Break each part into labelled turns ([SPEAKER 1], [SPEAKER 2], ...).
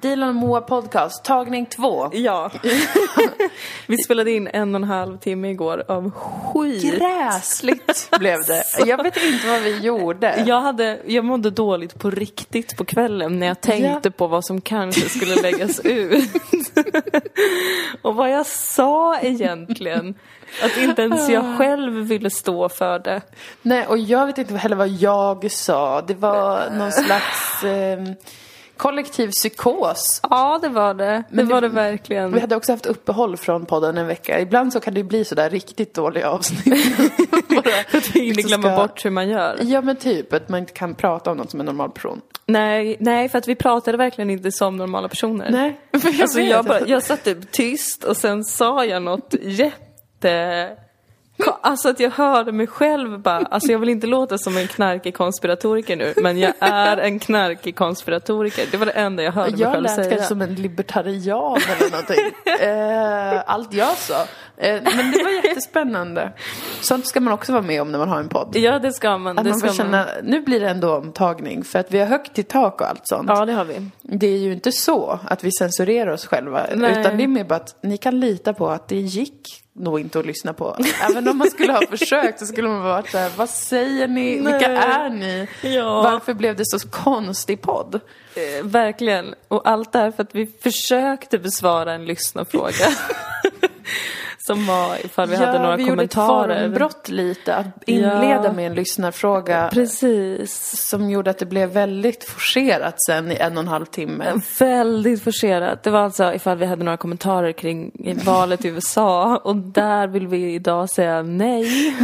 [SPEAKER 1] Dilan och Moa podcast, tagning två.
[SPEAKER 2] Ja. Vi spelade in en och en halv timme igår av skit.
[SPEAKER 1] Gräsligt blev det. Jag vet inte vad vi gjorde.
[SPEAKER 2] Jag, hade, jag mådde dåligt på riktigt på kvällen när jag tänkte på vad som kanske skulle läggas ut. och vad jag sa egentligen. Att inte ens jag själv ville stå för det.
[SPEAKER 1] Nej, och jag vet inte heller vad jag sa. Det var någon slags eh, kollektiv psykos.
[SPEAKER 2] Ja, det var det. Det var det verkligen.
[SPEAKER 1] Vi hade också haft uppehåll från podden en vecka. Ibland så kan det ju bli sådär riktigt dåliga avsnitt. Bara
[SPEAKER 2] Att vi inte
[SPEAKER 1] liksom
[SPEAKER 2] glömmer
[SPEAKER 1] ska-
[SPEAKER 2] bort hur man gör.
[SPEAKER 1] Ja men typ, att man inte kan prata om något som en normal person.
[SPEAKER 2] Nej, nej, för att vi pratade verkligen inte som normala personer.
[SPEAKER 1] Nej, för jag
[SPEAKER 2] Alltså
[SPEAKER 1] vet.
[SPEAKER 2] jag, bara, jag satt typ tyst och sen sa jag något jätte... Alltså att jag hörde mig själv bara, alltså jag vill inte låta som en knarkig konspiratoriker nu men jag är en knarkig konspiratoriker. Det var det enda jag hörde mig
[SPEAKER 1] Jag
[SPEAKER 2] själv
[SPEAKER 1] lät
[SPEAKER 2] säga.
[SPEAKER 1] kanske som en libertarian eller någonting. eh, allt jag sa. Eh, men det var jättespännande. Sånt ska man också vara med om när man har en podd.
[SPEAKER 2] Ja det ska man,
[SPEAKER 1] Att
[SPEAKER 2] det
[SPEAKER 1] man
[SPEAKER 2] ska
[SPEAKER 1] får
[SPEAKER 2] man.
[SPEAKER 1] känna, nu blir det ändå omtagning för att vi har högt i tak och allt sånt.
[SPEAKER 2] Ja det har vi.
[SPEAKER 1] Det är ju inte så att vi censurerar oss själva.
[SPEAKER 2] Nej.
[SPEAKER 1] Utan det är mer bara att ni kan lita på att det gick nog inte att lyssna på. Även om man skulle ha försökt så skulle man vara så här, vad säger ni? Vilka
[SPEAKER 2] Nej.
[SPEAKER 1] är ni?
[SPEAKER 2] Ja.
[SPEAKER 1] Varför blev det så konstig podd?
[SPEAKER 2] Eh, verkligen. Och allt det här för att vi försökte besvara en lyssnarfråga. som var ifall vi hade några
[SPEAKER 1] vi gjorde ett
[SPEAKER 2] kommentarer.
[SPEAKER 1] formbrott lite, att inleda med en lyssnarfråga
[SPEAKER 2] Precis.
[SPEAKER 1] som gjorde att det blev väldigt forcerat sen i en och en halv timme.
[SPEAKER 2] Väldigt forcerat. Det var alltså ifall vi hade några kommentarer kring valet i USA och där vill vi idag säga nej.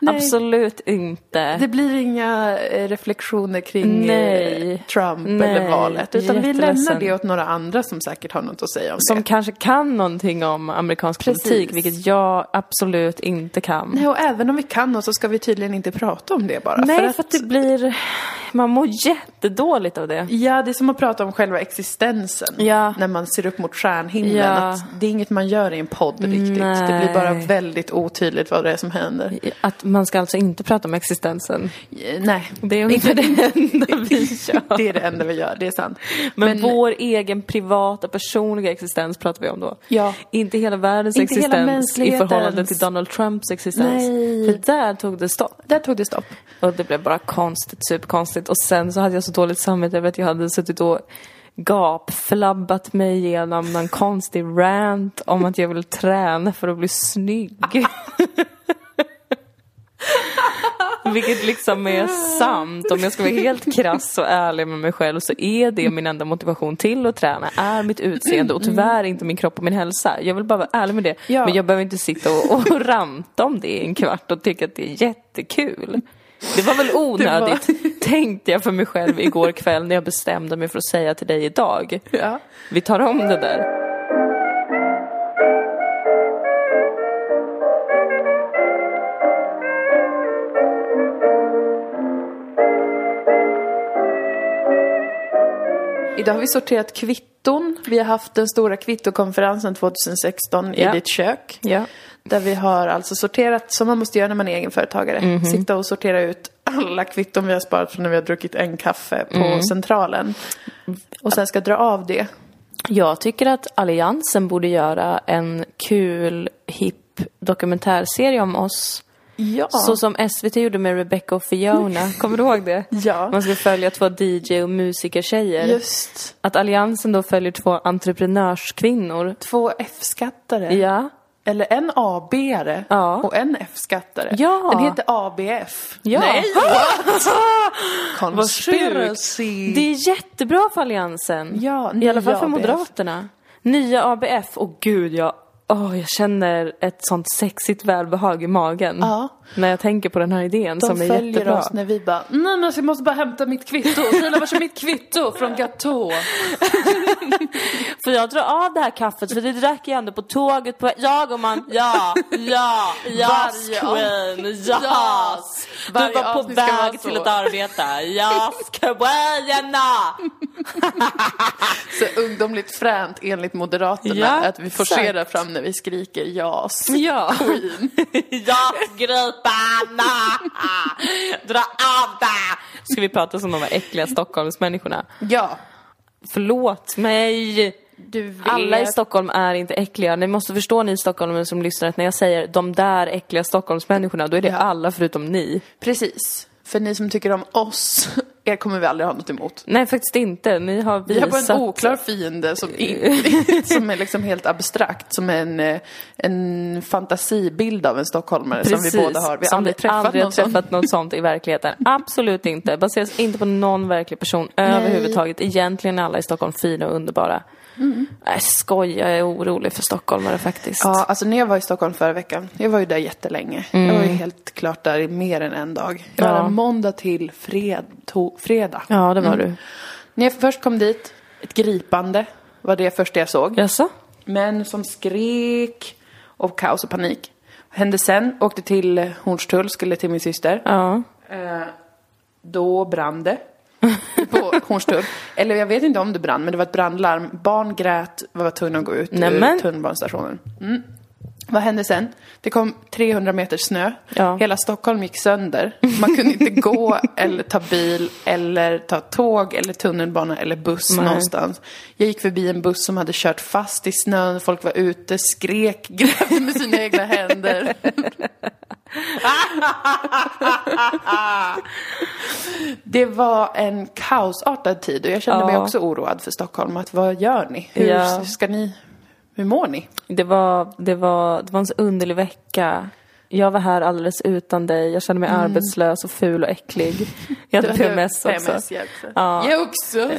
[SPEAKER 2] Absolut inte.
[SPEAKER 1] Det blir inga eh, reflektioner kring
[SPEAKER 2] Nej.
[SPEAKER 1] eh, Trump
[SPEAKER 2] Nej,
[SPEAKER 1] eller valet, utan vi lämnar
[SPEAKER 2] jätteledsen.
[SPEAKER 1] det åt några andra som säkert har något att säga om
[SPEAKER 2] Som
[SPEAKER 1] det.
[SPEAKER 2] kanske kan någonting om amerikansk
[SPEAKER 1] Precis.
[SPEAKER 2] politik, vilket jag absolut inte kan.
[SPEAKER 1] Nej, och även om vi kan något så ska vi tydligen inte prata om det bara.
[SPEAKER 2] Nej, för att, det blir... Man mår jättedåligt av det.
[SPEAKER 1] Ja, det är som att prata om själva existensen.
[SPEAKER 2] Ja.
[SPEAKER 1] När man ser upp mot stjärnhimlen.
[SPEAKER 2] Ja.
[SPEAKER 1] Att det är inget man gör i en podd riktigt. Det blir
[SPEAKER 2] Nej.
[SPEAKER 1] bara väldigt otydligt vad det är som händer.
[SPEAKER 2] Att man ska alltså inte prata om existensen.
[SPEAKER 1] Eh, Nej,
[SPEAKER 2] Det är ungefär det enda vi gör.
[SPEAKER 1] det är det enda vi gör. Det är sant.
[SPEAKER 2] Men, vår egen privata personliga existens pratar vi om då.
[SPEAKER 1] Ja.
[SPEAKER 2] Inte hela världens
[SPEAKER 1] Inte hela
[SPEAKER 2] existens i
[SPEAKER 1] mänsklighetens.
[SPEAKER 2] förhållande till Donald Trumps existens.
[SPEAKER 1] Nej.
[SPEAKER 2] För där tog det stopp.
[SPEAKER 1] Där tog det stopp.
[SPEAKER 2] Och det blev bara konstigt, superkonstigt. Och sen så hade jag så dåligt samvete över att jag hade suttit och gapflabbat mig igenom någon konstig rant om att jag ville träna för att bli snygg. Vilket liksom är sant. Om jag ska vara helt krass och ärlig med mig själv så är det min enda motivation till att träna, är mitt utseende och tyvärr inte min kropp och min hälsa. Jag vill bara vara ärlig med det.
[SPEAKER 1] Ja.
[SPEAKER 2] Men jag behöver inte sitta och, och ranta om det i en kvart och tycka att det är jättekul. Det var väl onödigt, tänkte jag för mig själv igår kväll när jag bestämde mig för att säga till dig idag.
[SPEAKER 1] Ja.
[SPEAKER 2] Vi tar om det där.
[SPEAKER 1] Idag har vi sorterat kvitton. Vi har haft den stora kvittokonferensen 2016
[SPEAKER 2] Ja.
[SPEAKER 1] i ditt kök.
[SPEAKER 2] Ja.
[SPEAKER 1] Där vi har alltså sorterat, som man måste göra när man är egenföretagare. Sitta och sortera ut alla kvitton vi har sparat från när vi har druckit en kaffe på centralen. Och sen ska dra av det.
[SPEAKER 2] Jag tycker att Alliansen borde göra en kul, hipp dokumentärserie om oss.
[SPEAKER 1] Ja. Mm.
[SPEAKER 2] Så som SVT gjorde med Rebecca och Fiona. Kommer du ihåg det?
[SPEAKER 1] Ja.
[SPEAKER 2] Man skulle följa två DJ och musikertjejer.
[SPEAKER 1] Just.
[SPEAKER 2] Att Alliansen då följer två entreprenörskvinnor.
[SPEAKER 1] Två F-skattare.
[SPEAKER 2] Ja.
[SPEAKER 1] Eller en AB-are
[SPEAKER 2] Ja.
[SPEAKER 1] och en F-skattare.
[SPEAKER 2] Ja.
[SPEAKER 1] Den heter ABF.
[SPEAKER 2] Ja.
[SPEAKER 1] Nej!
[SPEAKER 2] Det är jättebra för Alliansen.
[SPEAKER 1] Ja,
[SPEAKER 2] I
[SPEAKER 1] nya
[SPEAKER 2] alla fall för
[SPEAKER 1] ABF.
[SPEAKER 2] Moderaterna. Nya ABF. Och gud, jag, åh, jag känner ett sånt sexigt välbehag i magen.
[SPEAKER 1] Ja.
[SPEAKER 2] När jag tänker på den här idén
[SPEAKER 1] De
[SPEAKER 2] som är
[SPEAKER 1] följer
[SPEAKER 2] jättebra.
[SPEAKER 1] oss när vi bara, nej men alltså, jag måste bara hämta mitt kvitto. Frida, vart är mitt kvitto från Gatå?
[SPEAKER 2] För jag drar av det här kaffet för det drack jag ändå på tåget på Jag och man, ja, ja, yes
[SPEAKER 1] Varje
[SPEAKER 2] queen, yes. Du
[SPEAKER 1] Varje
[SPEAKER 2] var på
[SPEAKER 1] avsnitt ska vara
[SPEAKER 2] väg
[SPEAKER 1] så.
[SPEAKER 2] till ett arbete, yes queen!
[SPEAKER 1] Så ungdomligt fränt enligt Moderaterna
[SPEAKER 2] Ja,
[SPEAKER 1] att vi forcerar
[SPEAKER 2] exakt.
[SPEAKER 1] fram när vi skriker jas.
[SPEAKER 2] Ja. Yes Gripen! Dra av det! Ska vi prata som de här äckliga Stockholmsmänniskorna?
[SPEAKER 1] Ja.
[SPEAKER 2] Förlåt mig!
[SPEAKER 1] Du vet.
[SPEAKER 2] Alla i Stockholm är inte äckliga. Ni måste förstå ni stockholmare som lyssnar att när jag säger de där äckliga Stockholmsmänniskorna, då är det
[SPEAKER 1] Ja.
[SPEAKER 2] alla förutom ni.
[SPEAKER 1] Precis. För ni som tycker om oss, er kommer vi aldrig ha något emot.
[SPEAKER 2] Nej, faktiskt inte. Ni har
[SPEAKER 1] Vi har bara
[SPEAKER 2] visat...
[SPEAKER 1] en oklar fiende som, som är liksom helt abstrakt, som är en, eh, en fantasibild av en stockholmare som vi båda har. Vi har
[SPEAKER 2] som
[SPEAKER 1] aldrig
[SPEAKER 2] vi
[SPEAKER 1] träffat
[SPEAKER 2] aldrig
[SPEAKER 1] någon
[SPEAKER 2] har
[SPEAKER 1] sån.
[SPEAKER 2] träffat något sånt i verkligheten. Absolut inte. Baseras inte på någon verklig person överhuvudtaget. Egentligen är alla i Stockholm fina och underbara. Nej, skoj. Jag är orolig för stockholmare faktiskt.
[SPEAKER 1] Mm. Ja, alltså när jag var i Stockholm förra veckan, jag var ju där jättelänge. Jag var ju helt klart där i mer än en dag. Jag var
[SPEAKER 2] Mm. Ja.
[SPEAKER 1] där måndag till fred, to, fredag.
[SPEAKER 2] Ja, det var
[SPEAKER 1] Mm.
[SPEAKER 2] du.
[SPEAKER 1] När jag först kom dit, ett gripande var det första jag såg.
[SPEAKER 2] Jaså?
[SPEAKER 1] Män som skrek och kaos och panik. Hände sen, åkte till Hornstull, skulle till min syster.
[SPEAKER 2] Ja.
[SPEAKER 1] Eh, då brann det. På Hornstull. Eller jag vet inte om det brann, men det var ett brandlarm. Barn grät, vi var tvungna att gå ut ur
[SPEAKER 2] Nämen.
[SPEAKER 1] tunnelbanestationen. Mm. Vad hände sen? Det kom 300 meter snö.
[SPEAKER 2] Ja.
[SPEAKER 1] Hela Stockholm gick sönder. Man kunde inte gå eller ta bil eller ta tåg eller tunnelbana eller buss
[SPEAKER 2] Nej.
[SPEAKER 1] någonstans. Jag gick förbi en buss som hade kört fast i snön. Folk var ute, skrek, grävde med sina egna händer. Det var en kaosartad tid och jag kände
[SPEAKER 2] Ja.
[SPEAKER 1] mig också oroad för Stockholm. Att vad gör ni? Hur
[SPEAKER 2] Ja.
[SPEAKER 1] ska ni? Hur mår ni?
[SPEAKER 2] Det var, det, var, det var en så underlig vecka. Jag var här alldeles utan dig. Jag kände mig
[SPEAKER 1] Mm.
[SPEAKER 2] arbetslös och ful och äcklig. Jag hade PMS också.
[SPEAKER 1] PMS hjälpte.
[SPEAKER 2] Ja.
[SPEAKER 1] Jag också.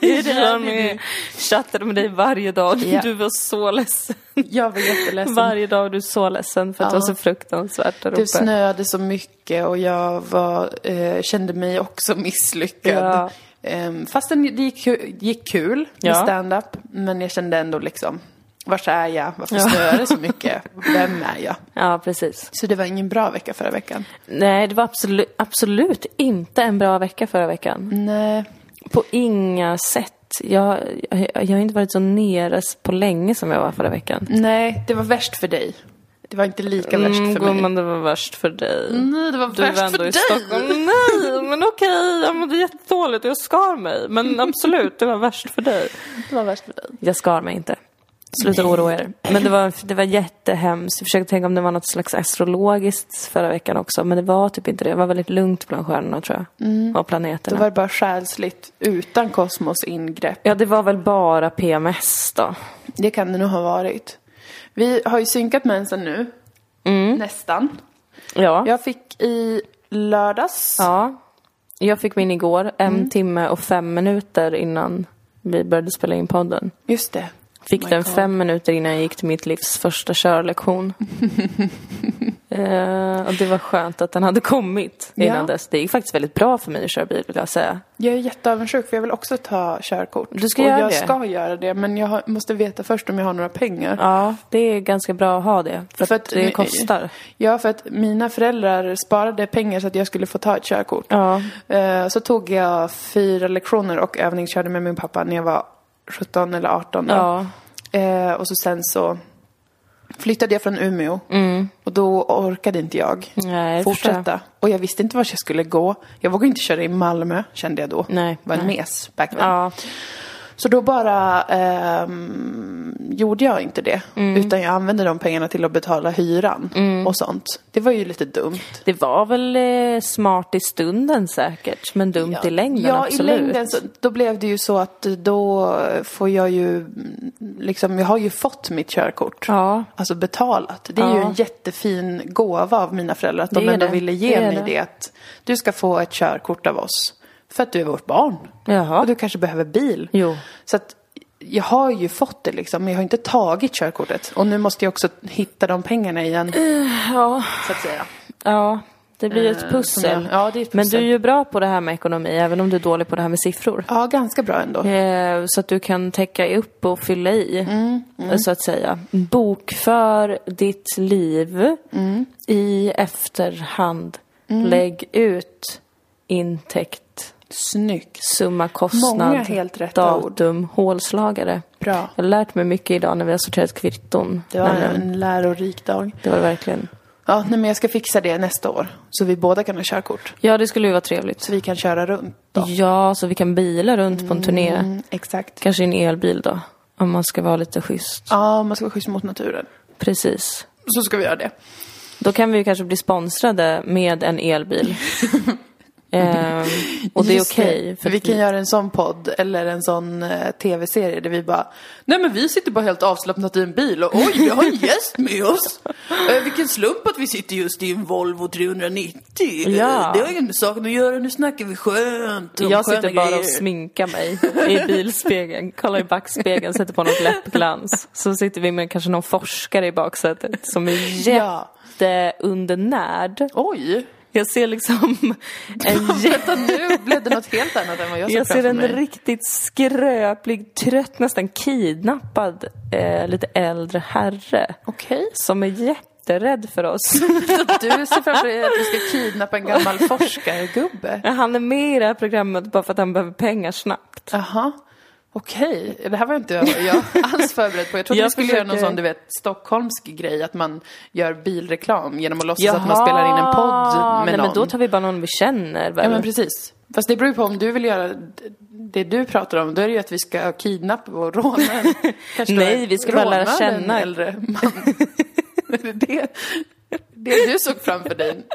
[SPEAKER 2] Jag med- chattade med dig varje dag.
[SPEAKER 1] Ja.
[SPEAKER 2] Du var så ledsen.
[SPEAKER 1] Jag var jätteledsen.
[SPEAKER 2] Varje dag du är så ledsen för att
[SPEAKER 1] Ja.
[SPEAKER 2] det var så fruktansvärt där
[SPEAKER 1] Det
[SPEAKER 2] uppe.
[SPEAKER 1] snöade så mycket och jag var, eh, kände mig också misslyckad.
[SPEAKER 2] Ja.
[SPEAKER 1] Ehm, fastän det gick, ku- gick kul med
[SPEAKER 2] Ja.
[SPEAKER 1] stand-up. Men jag kände ändå liksom, vars är jag? Varför snöar det så mycket? Vem är jag?
[SPEAKER 2] Ja, precis.
[SPEAKER 1] Så det var ingen bra vecka förra veckan.
[SPEAKER 2] Nej, det var absolut, absolut inte en bra vecka förra veckan.
[SPEAKER 1] Nej,
[SPEAKER 2] På inga sätt. Jag, jag, jag har inte varit så nere på länge som jag var förra veckan.
[SPEAKER 1] nej, det var värst för dig. Det var inte lika värst för mig.
[SPEAKER 2] Mm, gumman, det var värst för dig.
[SPEAKER 1] Nej, det var
[SPEAKER 2] Du
[SPEAKER 1] värst
[SPEAKER 2] var ändå
[SPEAKER 1] för
[SPEAKER 2] i
[SPEAKER 1] dig.
[SPEAKER 2] Stockholm. Nej, men okej. Jag mådde jättedåligt och jag skar mig. Men absolut, det var värst för dig.
[SPEAKER 1] Det var värst för dig.
[SPEAKER 2] Jag skar mig inte. Sluta oroa er. Men det var, det var jättehemskt. Jag försökte tänka om det var något slags astrologiskt förra veckan också. Men det var typ inte det. Det var väldigt lugnt bland stjärnorna tror jag. Och
[SPEAKER 1] Då
[SPEAKER 2] planeterna.
[SPEAKER 1] var Mm. det bara själsligt, utan kosmos ingrepp.
[SPEAKER 2] Ja, det var väl bara PMS då.
[SPEAKER 1] Det kan det nog ha varit. Vi har ju synkat mensen nu.
[SPEAKER 2] Mm.
[SPEAKER 1] Nästan.
[SPEAKER 2] Ja.
[SPEAKER 1] Jag fick i lördags.
[SPEAKER 2] ja. Jag fick min igår. En
[SPEAKER 1] Mm.
[SPEAKER 2] timme och fem minuter innan vi började spela in podden.
[SPEAKER 1] Just det.
[SPEAKER 2] Fick
[SPEAKER 1] Oh my
[SPEAKER 2] den
[SPEAKER 1] God.
[SPEAKER 2] fem minuter innan jag gick till mitt livs första körlektion. eh, och det var skönt att den hade kommit innan
[SPEAKER 1] Ja.
[SPEAKER 2] dess. Det gick faktiskt väldigt bra för mig att köra bil vill jag säga.
[SPEAKER 1] Jag är jätteavundsjuk för jag vill också ta körkort.
[SPEAKER 2] Du ska
[SPEAKER 1] Och
[SPEAKER 2] göra
[SPEAKER 1] jag
[SPEAKER 2] det?
[SPEAKER 1] ska göra det men jag har- måste veta först om jag har några pengar.
[SPEAKER 2] Ja, det är ganska bra att ha det. För, att det kostar.
[SPEAKER 1] Ja, för att mina föräldrar sparade pengar så att jag skulle få ta ett körkort.
[SPEAKER 2] Ja.
[SPEAKER 1] Eh, Så tog jag fyra lektioner och övningskörde med min pappa när jag var 17 eller 18 då.
[SPEAKER 2] Ja.
[SPEAKER 1] Eh, och så sen så flyttade jag från Umeå. Och då orkade inte jag
[SPEAKER 2] Mm. Nej, det förstår jag.
[SPEAKER 1] fortsätta. Och jag visste inte vart jag skulle gå. Jag vågade inte köra i Malmö, kände jag då.
[SPEAKER 2] Nej,
[SPEAKER 1] var en
[SPEAKER 2] nej.
[SPEAKER 1] mes back then.
[SPEAKER 2] Ja.
[SPEAKER 1] Så då bara ehm, gjorde jag inte det. Utan jag använde de pengarna till att betala hyran och sånt. Det var ju lite dumt.
[SPEAKER 2] Det var väl eh, smart i stunden säkert, men dumt i längden
[SPEAKER 1] Ja,
[SPEAKER 2] absolut.
[SPEAKER 1] i längden så, då blev det ju så att då får jag ju mm, liksom, jag har ju fått mitt körkort.
[SPEAKER 2] Ja.
[SPEAKER 1] Alltså betalat. Det är ju
[SPEAKER 2] Ja.
[SPEAKER 1] en jättefin gåva av mina föräldrar att de
[SPEAKER 2] Det är
[SPEAKER 1] ändå
[SPEAKER 2] det.
[SPEAKER 1] ville ge
[SPEAKER 2] Det är
[SPEAKER 1] mig det.
[SPEAKER 2] det.
[SPEAKER 1] att du ska få ett körkort av oss. För att du är vårt barn.
[SPEAKER 2] Jaha.
[SPEAKER 1] Och du kanske behöver bil.
[SPEAKER 2] Jo.
[SPEAKER 1] Så att jag har ju fått det liksom, men jag har inte tagit körkortet. Och nu måste jag också hitta de pengarna igen,
[SPEAKER 2] Ja,
[SPEAKER 1] så att säga.
[SPEAKER 2] ja. Det blir ju
[SPEAKER 1] Eh,
[SPEAKER 2] ett pussel.
[SPEAKER 1] som jag- ja, det är ett
[SPEAKER 2] Men du
[SPEAKER 1] pussel.
[SPEAKER 2] är ju bra på det här med ekonomi, även om du är dålig på det här med siffror.
[SPEAKER 1] Ja, ganska bra ändå.
[SPEAKER 2] Eh, Så att du kan täcka upp och fylla i,
[SPEAKER 1] Mm,
[SPEAKER 2] eh, så att säga. Bokför ditt liv
[SPEAKER 1] Mm.
[SPEAKER 2] i efterhand. Lägg ut intäkt,
[SPEAKER 1] Snyggt.
[SPEAKER 2] summa, kostnad,
[SPEAKER 1] Många helt rätta ord.
[SPEAKER 2] datum, hålslagare.
[SPEAKER 1] Bra.
[SPEAKER 2] Jag har lärt mig mycket idag när vi har sorterat kvitton.
[SPEAKER 1] Det var
[SPEAKER 2] nämligen.
[SPEAKER 1] en lärorik dag.
[SPEAKER 2] det var det verkligen.
[SPEAKER 1] Ja, nej, men jag ska fixa det nästa år. Så vi båda kan ha körkort.
[SPEAKER 2] Ja, det skulle ju vara trevligt.
[SPEAKER 1] Så vi kan köra runt då.
[SPEAKER 2] Ja, så vi kan bila runt på en turné.
[SPEAKER 1] Mm, exakt.
[SPEAKER 2] Kanske i en elbil då. Om man ska vara lite schysst.
[SPEAKER 1] Ja, man ska vara schysst mot naturen.
[SPEAKER 2] Precis.
[SPEAKER 1] Så ska vi göra det.
[SPEAKER 2] Då kan vi ju kanske bli sponsrade med en elbil. Ehm, och det är
[SPEAKER 1] Just
[SPEAKER 2] okej. för
[SPEAKER 1] vi
[SPEAKER 2] att
[SPEAKER 1] kan
[SPEAKER 2] vi-
[SPEAKER 1] göra en sån podd eller en sån eh, tv-serie där vi bara Nej men vi sitter bara helt avslappnat i en bil och oj vi har en gäst med oss. Eh, vilken slump att vi sitter just i en Volvo 390. Eh,
[SPEAKER 2] Ja.
[SPEAKER 1] Det har ingen med saken att göra, nu snackar vi skönt. om
[SPEAKER 2] Jag
[SPEAKER 1] sköna
[SPEAKER 2] sitter bara och
[SPEAKER 1] grejer."
[SPEAKER 2] sminkar mig i bilspegeln, kollar i backspegeln, sätter på något läppglans. Så sitter vi med kanske någon forskare i baksätet som är
[SPEAKER 1] Ja.
[SPEAKER 2] jätteundernärd.
[SPEAKER 1] Oj,
[SPEAKER 2] Jag ser liksom en
[SPEAKER 1] vänta
[SPEAKER 2] jätte...
[SPEAKER 1] nu blev det något helt annat än vad jag såg
[SPEAKER 2] Jag ser
[SPEAKER 1] framför
[SPEAKER 2] en
[SPEAKER 1] mig.
[SPEAKER 2] riktigt skröplig, trött, nästan kidnappad, eh, lite äldre herre.
[SPEAKER 1] Okej.
[SPEAKER 2] Som är jätterädd för oss.
[SPEAKER 1] Du ser framför dig att du ska kidnappa en gammal forskargubbe.
[SPEAKER 2] Han är med i det här programmet bara för att han behöver pengar snabbt.
[SPEAKER 1] Jaha. Okej, det här var inte jag, jag alls förberedd på. Jag trodde
[SPEAKER 2] Jag
[SPEAKER 1] vi skulle göra någon
[SPEAKER 2] försöker-
[SPEAKER 1] sån, du vet, stockholmsk grej, att man gör bilreklam genom att låtsas
[SPEAKER 2] Jaha,
[SPEAKER 1] att man spelar in en podd med
[SPEAKER 2] nej,
[SPEAKER 1] någon.
[SPEAKER 2] men då tar vi bara någon vi känner väl?
[SPEAKER 1] Ja, men precis. Fast det beror ju på om du vill göra d- det du pratar om, då är det ju att vi ska kidnappa och råna en- kanske då
[SPEAKER 2] Nej, vi ska bara lära
[SPEAKER 1] råna en
[SPEAKER 2] känna.
[SPEAKER 1] äldre man. Är det, det, det du såg framför dig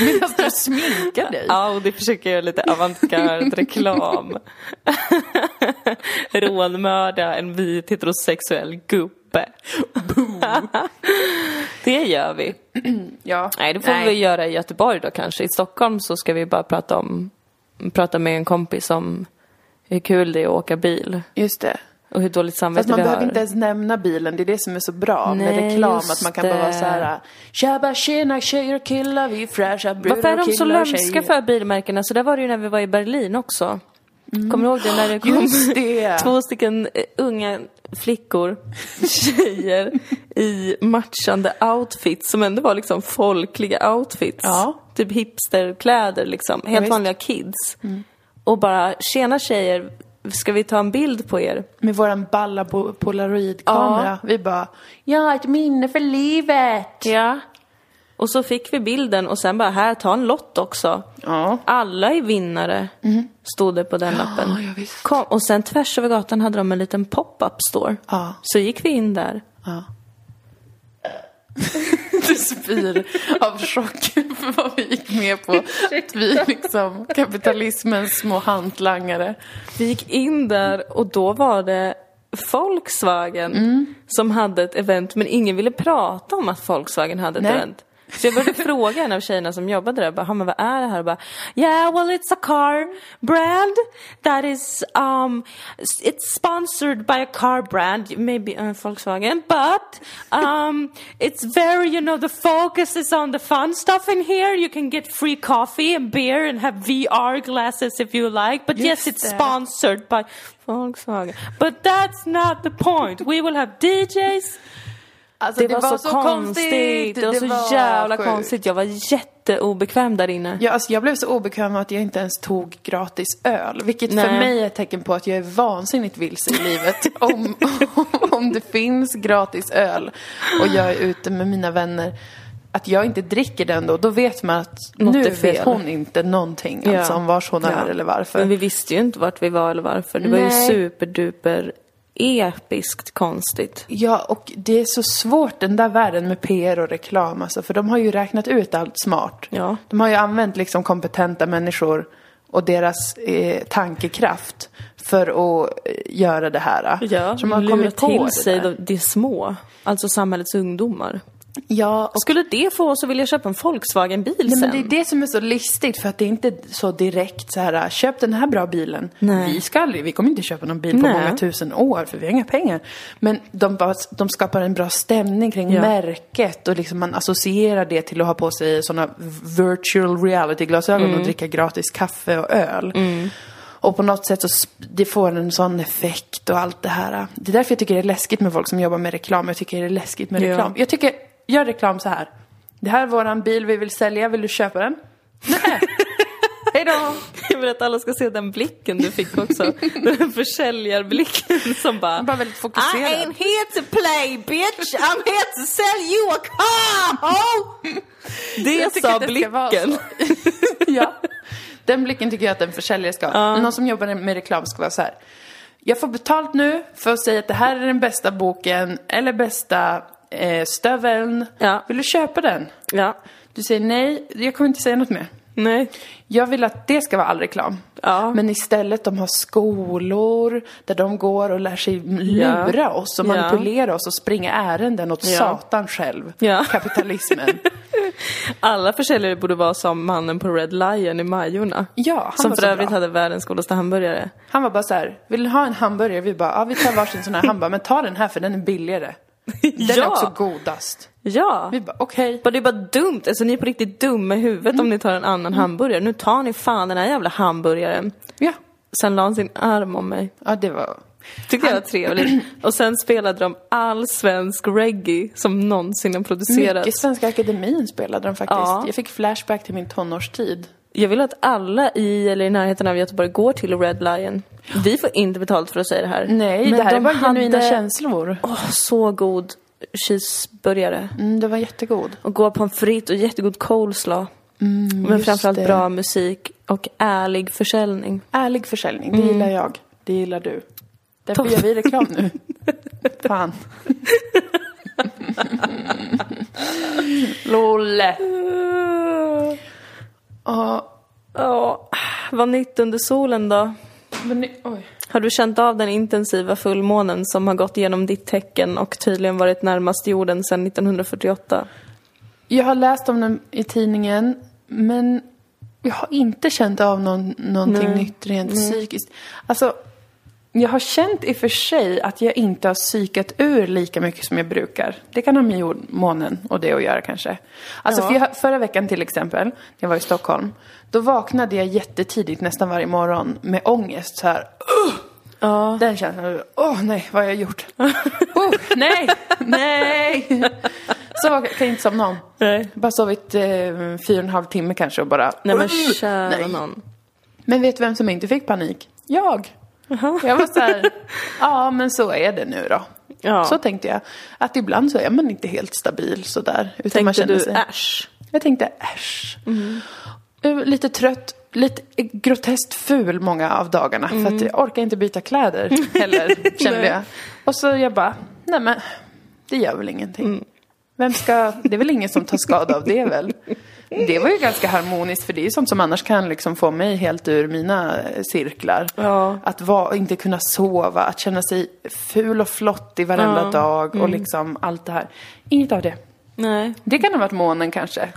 [SPEAKER 1] medan du sminkar dig.
[SPEAKER 2] Ja, och det försöker jag lite avantgarde reklam. Rånmörda en vit heterosexuell gubbe. det gör vi.
[SPEAKER 1] Ja.
[SPEAKER 2] Nej, det får vi väl göra i Göteborg då kanske. I Stockholm så ska vi bara prata om, prata med en kompis om hur kul det är att åka bil
[SPEAKER 1] Just det.
[SPEAKER 2] och hur dåligt
[SPEAKER 1] Fast
[SPEAKER 2] samvete
[SPEAKER 1] man
[SPEAKER 2] vi har.
[SPEAKER 1] behöver inte ens nämna bilen, det är det som är så bra med
[SPEAKER 2] Nej,
[SPEAKER 1] reklam.
[SPEAKER 2] just
[SPEAKER 1] Att man kan
[SPEAKER 2] det.
[SPEAKER 1] bara vara så här, tjabba tjena tjejer och killar, vi är fräscha brudar
[SPEAKER 2] Varför är
[SPEAKER 1] och
[SPEAKER 2] de så
[SPEAKER 1] killar och
[SPEAKER 2] lömska
[SPEAKER 1] tjejer."
[SPEAKER 2] för bilmärkena? Så där var det ju när vi var i Berlin också. Kommer du ihåg det när det kom
[SPEAKER 1] Mm. Just det.
[SPEAKER 2] två stycken eh, unga flickor, tjejer, i matchande outfits som ändå var liksom folkliga outfits.
[SPEAKER 1] Ja.
[SPEAKER 2] Typ hipsterkläder liksom, helt
[SPEAKER 1] visst. Mm.
[SPEAKER 2] vanliga kids. Och bara, tjena tjejer, ska vi ta en bild på er?
[SPEAKER 1] Med våran balla po- polaroidkamera. Vi bara, ja ett minne för livet.
[SPEAKER 2] Ja. Och så fick vi bilden och sen bara, här, ta en lott också.
[SPEAKER 1] Ja.
[SPEAKER 2] Alla är vinnare, stod det på den lappen.
[SPEAKER 1] Mm. ja, visst.
[SPEAKER 2] Kom, och sen tvärs över gatan hade de en liten pop-up store.
[SPEAKER 1] Ja.
[SPEAKER 2] Så gick vi in där.
[SPEAKER 1] Du spyr av chock för vad vi gick med på. Att vi är liksom kapitalismens små hantlangare.
[SPEAKER 2] Vi gick in där och då var det Volkswagen som hade ett event men ingen ville prata om att Volkswagen hade ett
[SPEAKER 1] Nej.
[SPEAKER 2] event. Så jag började fråga en av tjejerna som jobbade där, bara, "Ha, men vad är det här? Och bara, yeah well it's a car brand that is um it's sponsored by a car brand, maybe uh, Volkswagen, but um it's very you know the focus is on the fun stuff in here. You can get free coffee and beer and have VR glasses if you like, but yes
[SPEAKER 1] Just
[SPEAKER 2] it's
[SPEAKER 1] det.
[SPEAKER 2] sponsored sponsored by Volkswagen. But that's not the point. We will have DJs.
[SPEAKER 1] Alltså,
[SPEAKER 2] Det, var, så, konstigt. Det var så jävla
[SPEAKER 1] sjukt.
[SPEAKER 2] konstigt. Jag var jätteobekväm där inne.
[SPEAKER 1] Ja, alltså jag blev så obekväm att jag inte ens tog gratis öl. Vilket för
[SPEAKER 2] Nej.
[SPEAKER 1] mig är ett tecken på att jag är vansinnigt vilse i livet. om, om det finns gratis öl och jag är ute med mina vänner. Att jag inte dricker den då, då vet man att
[SPEAKER 2] Något
[SPEAKER 1] nu
[SPEAKER 2] är fel.
[SPEAKER 1] vet hon inte någonting.
[SPEAKER 2] Ja.
[SPEAKER 1] Alltså om vars hon är
[SPEAKER 2] Ja.
[SPEAKER 1] eller varför.
[SPEAKER 2] Men vi visste ju inte vart vi var eller varför. Det var
[SPEAKER 1] Nej.
[SPEAKER 2] ju superduper episkt konstigt.
[SPEAKER 1] Ja, och det är så svårt den där världen med PR och reklam alltså, för de har ju räknat ut allt smart.
[SPEAKER 2] Ja.
[SPEAKER 1] De har ju använt liksom kompetenta människor och deras eh, tankekraft för att eh, göra det här.
[SPEAKER 2] Ja,
[SPEAKER 1] Så de har kommit på
[SPEAKER 2] till
[SPEAKER 1] det
[SPEAKER 2] sig
[SPEAKER 1] där.
[SPEAKER 2] de, de små, alltså samhällets ungdomar.
[SPEAKER 1] Ja, och
[SPEAKER 2] Skulle det få oss att vilja köpa en Volkswagen-bil
[SPEAKER 1] Nej,
[SPEAKER 2] sen?
[SPEAKER 1] men det är det som är så listigt för att det är inte så direkt så här köp den här bra bilen.
[SPEAKER 2] Nej.
[SPEAKER 1] Vi ska aldrig, vi kommer inte köpa någon bil på
[SPEAKER 2] Nej.
[SPEAKER 1] många tusen år för vi har inga pengar. Men de, bara- de skapar en bra stämning kring
[SPEAKER 2] Ja.
[SPEAKER 1] märket och liksom man associerar det till att ha på sig sådana virtual reality-glasögon
[SPEAKER 2] Mm.
[SPEAKER 1] och dricka gratis kaffe och öl. Och på något sätt så sp- det får en sån effekt och allt det här. Det är därför jag tycker det är läskigt med folk som jobbar med reklam. Jag tycker det är läskigt med
[SPEAKER 2] Ja.
[SPEAKER 1] reklam. Jag tycker, gör reklam så här. Det här är våran bil vi vill sälja, vill du köpa den? Nej.
[SPEAKER 2] Hejdå! Jag vill att alla ska se den blicken du fick också. Den försäljarblicken som bara...
[SPEAKER 1] Bara väldigt fokuserad.
[SPEAKER 2] I ain't here to play bitch! I'm here to sell you a car! Oh!
[SPEAKER 1] Jag
[SPEAKER 2] Det
[SPEAKER 1] tycker
[SPEAKER 2] sa
[SPEAKER 1] att det ska vara
[SPEAKER 2] blicken.
[SPEAKER 1] ja. Den blicken tycker jag att en försäljare ska ha. Någon som jobbar med reklam ska vara så här. Jag får betalt nu för att säga att det här är den bästa boken eller bästa eh, stöveln.
[SPEAKER 2] Ja.
[SPEAKER 1] Vill du köpa den?
[SPEAKER 2] Ja.
[SPEAKER 1] Du säger nej, jag kommer inte säga något mer.
[SPEAKER 2] Nej.
[SPEAKER 1] Jag vill att det ska vara all reklam.
[SPEAKER 2] Ja.
[SPEAKER 1] Men istället de har skolor där de går och lär sig lura
[SPEAKER 2] Ja.
[SPEAKER 1] oss och
[SPEAKER 2] Ja.
[SPEAKER 1] manipulera oss och springa ärenden åt
[SPEAKER 2] Ja.
[SPEAKER 1] satan själv.
[SPEAKER 2] Ja.
[SPEAKER 1] Kapitalismen.
[SPEAKER 2] Alla försäljare borde vara som mannen på Red Lion i Majorna.
[SPEAKER 1] Ja, han
[SPEAKER 2] som
[SPEAKER 1] var
[SPEAKER 2] för
[SPEAKER 1] så
[SPEAKER 2] övrigt
[SPEAKER 1] bra.
[SPEAKER 2] hade världens godaste hamburgare.
[SPEAKER 1] Han var bara så här, vill du ha en hamburgare? Vi bara, ja vi tar varsin sån här. Han bara, men ta den här för den är billigare. Den är
[SPEAKER 2] Ja.
[SPEAKER 1] också godast.
[SPEAKER 2] Ja!
[SPEAKER 1] Vi bara, okej.
[SPEAKER 2] Bara Det är bara dumt, alltså ni är på riktigt dumma i huvudet om ni tar en annan hamburgare. Nu tar ni fan den här jävla hamburgaren.
[SPEAKER 1] Ja.
[SPEAKER 2] Sen la han sin arm om mig.
[SPEAKER 1] ja, det var...
[SPEAKER 2] Tyckte jag var trevligt. Och sen spelade de all svensk reggae som någonsin har producerats.
[SPEAKER 1] Mycket Svenska Akademin spelade de faktiskt.
[SPEAKER 2] Ja.
[SPEAKER 1] Jag fick flashback till min tonårstid.
[SPEAKER 2] Jag vill att alla i eller i närheten av Göteborg går till Red Lion. Vi får inte betalt för att säga det här.
[SPEAKER 1] Nej, det här är
[SPEAKER 2] de
[SPEAKER 1] bara genuina
[SPEAKER 2] hade-
[SPEAKER 1] känslor.
[SPEAKER 2] Åh, så god cheeseburgare.
[SPEAKER 1] Mm, det var jättegod.
[SPEAKER 2] Och gå på en fritt och jättegod coleslaw. Men
[SPEAKER 1] Mm, just
[SPEAKER 2] framförallt
[SPEAKER 1] det.
[SPEAKER 2] bra musik och ärlig försäljning.
[SPEAKER 1] Ärlig försäljning, det gillar jag. Det gillar du. Därför gör vi reklam nu. Fan. Lolle. Mm. Ja,
[SPEAKER 2] Ja, vad nytt under solen då?
[SPEAKER 1] men nu, oj.
[SPEAKER 2] Har du känt av den intensiva fullmånen som har gått genom ditt tecken och tydligen varit närmast jorden sedan 1948?
[SPEAKER 1] Jag har läst om den i tidningen, men jag har inte känt av någon, någonting nytt rent psykiskt. Alltså, jag har känt i och för sig att jag inte har psykat ur lika mycket som jag brukar. Det kan ha med jordmånen och det att göra kanske. Alltså
[SPEAKER 2] Ja.
[SPEAKER 1] för jag, förra veckan till exempel, när jag var i Stockholm, då vaknade jag jättetidigt nästan varje morgon med ångest så här.
[SPEAKER 2] Ja.
[SPEAKER 1] Den känslan, åh nej, vad har jag gjort? oh, nej, nej! Så var- kan jag inte somna om.
[SPEAKER 2] Nej.
[SPEAKER 1] Bara sovit eh, fyra och en halv timme kanske och bara...
[SPEAKER 2] Nej men
[SPEAKER 1] Mm.
[SPEAKER 2] kära
[SPEAKER 1] Nej.
[SPEAKER 2] någon.
[SPEAKER 1] Men vet du vem som inte fick panik? Jag! Jag var så här, ja men så är det nu då.
[SPEAKER 2] Ja.
[SPEAKER 1] Så tänkte jag. Att ibland så är man inte helt stabil sådär. Utan man
[SPEAKER 2] Tänkte
[SPEAKER 1] känner
[SPEAKER 2] du
[SPEAKER 1] sig...
[SPEAKER 2] äsch?
[SPEAKER 1] Jag tänkte äsch.
[SPEAKER 2] Mm.
[SPEAKER 1] Jag var Lite trött, lite groteskt ful många av dagarna. För att jag orkar inte byta kläder heller, kände
[SPEAKER 2] Mm. Nej.
[SPEAKER 1] jag. Och så jag bara, nej men det gör väl ingenting.
[SPEAKER 2] Mm.
[SPEAKER 1] Vem ska, det är väl ingen som tar skada av det väl? Det var ju ganska harmoniskt för det är ju sånt som annars kan liksom få mig helt ur mina eh, cirklar.
[SPEAKER 2] Ja.
[SPEAKER 1] Att va, inte kunna sova, att känna sig ful och flottig varenda dag
[SPEAKER 2] Mm.
[SPEAKER 1] och liksom allt det här. Inget av det.
[SPEAKER 2] Nej.
[SPEAKER 1] Det kan ha varit månen kanske.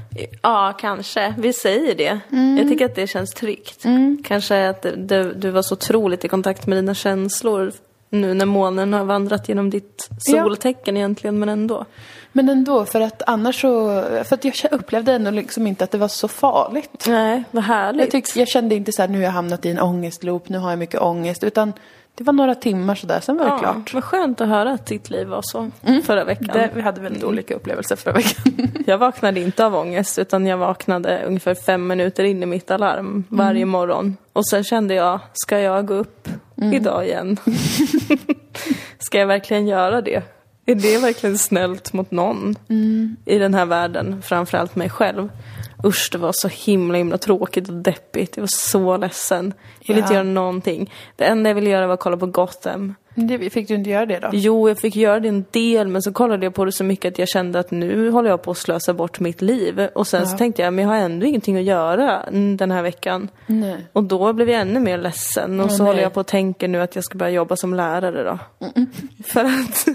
[SPEAKER 2] Ja, kanske. Vi säger det.
[SPEAKER 1] Mm.
[SPEAKER 2] Jag tycker att det känns tryggt. Kanske att du, du var så otroligt i kontakt med dina känslor nu när månen har vandrat genom ditt
[SPEAKER 1] Ja.
[SPEAKER 2] soltecken egentligen, men ändå.
[SPEAKER 1] Men ändå, för att annars så, för att jag kä- upplevde ändå liksom inte att det var så farligt.
[SPEAKER 2] Nej, vad
[SPEAKER 1] Jag,
[SPEAKER 2] härligt.
[SPEAKER 1] tyck, jag kände inte så här, nu har jag hamnat i en ångestloop, nu har jag mycket ångest, utan det var några timmar sådär, sen var det
[SPEAKER 2] ja,
[SPEAKER 1] klart. Mm.
[SPEAKER 2] vad skönt att höra att ditt liv var så förra veckan.
[SPEAKER 1] Det, vi hade väldigt olika upplevelser förra veckan.
[SPEAKER 2] Jag vaknade inte av ångest utan jag vaknade ungefär fem minuter in i mitt alarm varje morgon. Och sen kände jag, ska jag gå upp idag igen? ska jag verkligen göra det? Är det verkligen snällt mot någon i den här världen? Framförallt mig själv. Usch, det var så himla himla tråkigt och deppigt. Jag var så ledsen. Jag ville inte
[SPEAKER 1] Ja.
[SPEAKER 2] göra någonting. Det enda jag ville göra var att kolla på Gotham.
[SPEAKER 1] Det, fick du inte göra det då?
[SPEAKER 2] Jo, jag fick göra det en del men så kollade jag på det så mycket att jag kände att nu håller jag på att slösa bort mitt liv. Och sen så tänkte jag, men jag har ändå ingenting att göra mm, den här veckan.
[SPEAKER 1] Nej.
[SPEAKER 2] Och då blev jag ännu mer ledsen och
[SPEAKER 1] Åh,
[SPEAKER 2] så
[SPEAKER 1] nej.
[SPEAKER 2] håller jag på och tänker nu att jag ska börja jobba som lärare då. För, att,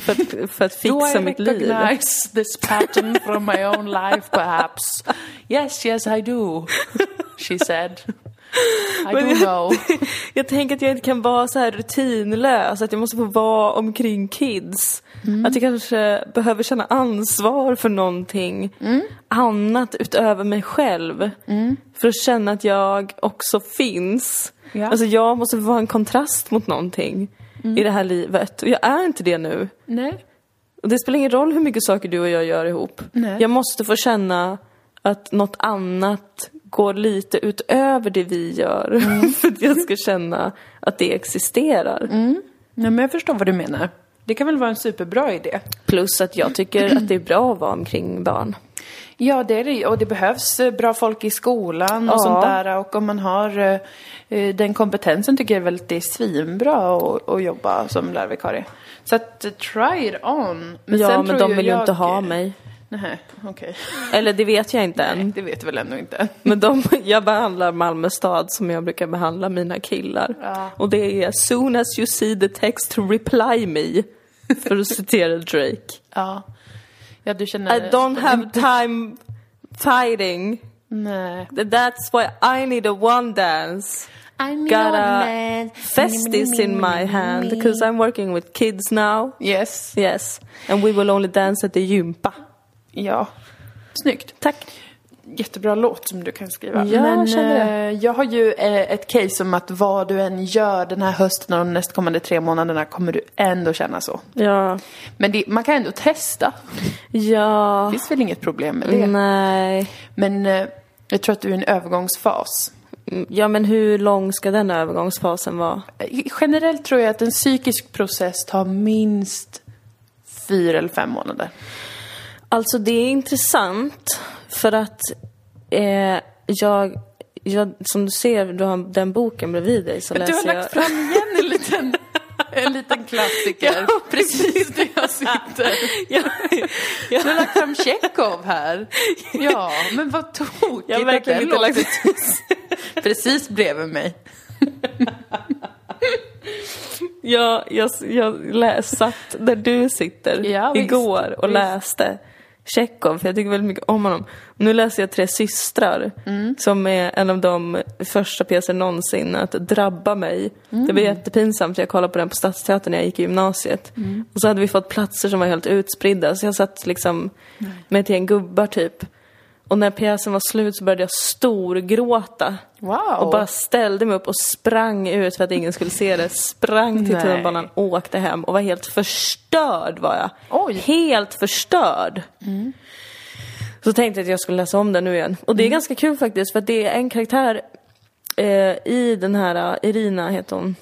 [SPEAKER 2] för, att, för att fixa mitt liv.
[SPEAKER 1] recognize this pattern from my own life perhaps. Yes, yes I do, she said. I
[SPEAKER 2] Men
[SPEAKER 1] do know.
[SPEAKER 2] jag tänker att jag inte kan vara så här rutinlös, att jag måste få vara omkring kids. Att jag kanske behöver känna ansvar för någonting annat utöver mig själv. För att känna att jag också finns.
[SPEAKER 1] Ja.
[SPEAKER 2] Alltså jag måste vara en kontrast mot någonting i det här livet. Och jag är inte det nu.
[SPEAKER 1] Nej.
[SPEAKER 2] Och det spelar ingen roll hur mycket saker du och jag gör ihop.
[SPEAKER 1] Nej.
[SPEAKER 2] Jag måste få känna att något annat går lite utöver det vi gör
[SPEAKER 1] Mm.
[SPEAKER 2] för att jag ska känna att det existerar.
[SPEAKER 1] Nej, men jag förstår vad du menar. Det kan väl vara en superbra idé?
[SPEAKER 2] Plus att jag tycker att det är bra att vara omkring barn.
[SPEAKER 1] Ja, det är det ju. Och det behövs eh, bra folk i skolan och
[SPEAKER 2] Ja.
[SPEAKER 1] sånt där. Och om man har eh, eh, den kompetensen tycker jag väl att det är svinbra att, att jobba som lärarvikarie. Så att, eh, try it on.
[SPEAKER 2] ja,
[SPEAKER 1] sen
[SPEAKER 2] men
[SPEAKER 1] tror
[SPEAKER 2] de
[SPEAKER 1] ju
[SPEAKER 2] vill ju
[SPEAKER 1] jag-
[SPEAKER 2] inte ha mig.
[SPEAKER 1] Nej, okej.
[SPEAKER 2] Eller det vet jag inte än.
[SPEAKER 1] Det vet du väl ändå inte.
[SPEAKER 2] Men de, jag behandlar Malmö stad som jag brukar behandla mina killar.
[SPEAKER 1] Ja.
[SPEAKER 2] Och det är soon as you see the text reply me. För att citera Drake.
[SPEAKER 1] Ja. Ja, du känner...
[SPEAKER 2] I don't have time fighting.
[SPEAKER 1] Nej.
[SPEAKER 2] That's why I need a one dance. Got a festis in my hand because I'm working with kids now.
[SPEAKER 1] Yes.
[SPEAKER 2] Yes, and we will only dance at the gympa.
[SPEAKER 1] Ja. Snyggt.
[SPEAKER 2] Tack.
[SPEAKER 1] Jättebra låt som du kan skriva.
[SPEAKER 2] Ja,
[SPEAKER 1] Men,
[SPEAKER 2] jag känner
[SPEAKER 1] eh, jag har ju eh, ett case om att vad du än gör den här hösten och de nästkommande tre månaderna kommer du ändå känna så.
[SPEAKER 2] Ja.
[SPEAKER 1] Men det, man kan ändå testa.
[SPEAKER 2] Ja.
[SPEAKER 1] Det finns väl inget problem med
[SPEAKER 2] Mm.
[SPEAKER 1] det.
[SPEAKER 2] Nej.
[SPEAKER 1] Men eh, jag tror att du är i en övergångsfas.
[SPEAKER 2] Mm, Ja, men hur lång ska den övergångsfasen vara?
[SPEAKER 1] Eh, Generellt tror jag att en psykisk process tar minst fyra eller fem månader.
[SPEAKER 2] Alltså det är intressant för att eh, jag, jag, som du ser, du har den boken bredvid dig så
[SPEAKER 1] Du har
[SPEAKER 2] läser alltså, jag.
[SPEAKER 1] lagt fram igen en liten, en liten klassiker.
[SPEAKER 2] Ja,
[SPEAKER 1] precis där jag sitter.
[SPEAKER 2] jag, jag,
[SPEAKER 1] Du har lagt fram Tjechov här. Ja, men vad tokigt
[SPEAKER 2] jag har verkligen
[SPEAKER 1] att
[SPEAKER 2] inte
[SPEAKER 1] den
[SPEAKER 2] lagt
[SPEAKER 1] låter precis bredvid mig.
[SPEAKER 2] jag, jag, jag lä, satt där du sitter
[SPEAKER 1] Ja, visst.
[SPEAKER 2] igår och
[SPEAKER 1] Visst.
[SPEAKER 2] läste Tjechov, för jag tycker väldigt mycket om honom. Nu läser jag Tre systrar,
[SPEAKER 1] Mm.
[SPEAKER 2] som är en av de första pjäser någonsin att drabba mig. Det
[SPEAKER 1] Mm.
[SPEAKER 2] var jättepinsamt, jag kollade på den på Stadsteatern när jag gick i gymnasiet.
[SPEAKER 1] Mm.
[SPEAKER 2] Och så hade vi fått platser som var helt utspridda, så jag satt liksom med ett gäng gubbar typ. Och när pjäsen var slut så började jag storgråta.
[SPEAKER 1] Wow.
[SPEAKER 2] Och bara ställde mig upp och sprang ut för att ingen skulle se det. Sprang till
[SPEAKER 1] Nej.
[SPEAKER 2] tunnelbanan, åkte hem och var helt förstörd var jag.
[SPEAKER 1] Oj.
[SPEAKER 2] Helt förstörd. Så tänkte jag att jag skulle läsa om den nu igen. Och det är ganska kul faktiskt för att det är en karaktär eh, i den här, eh, Irina heter hon.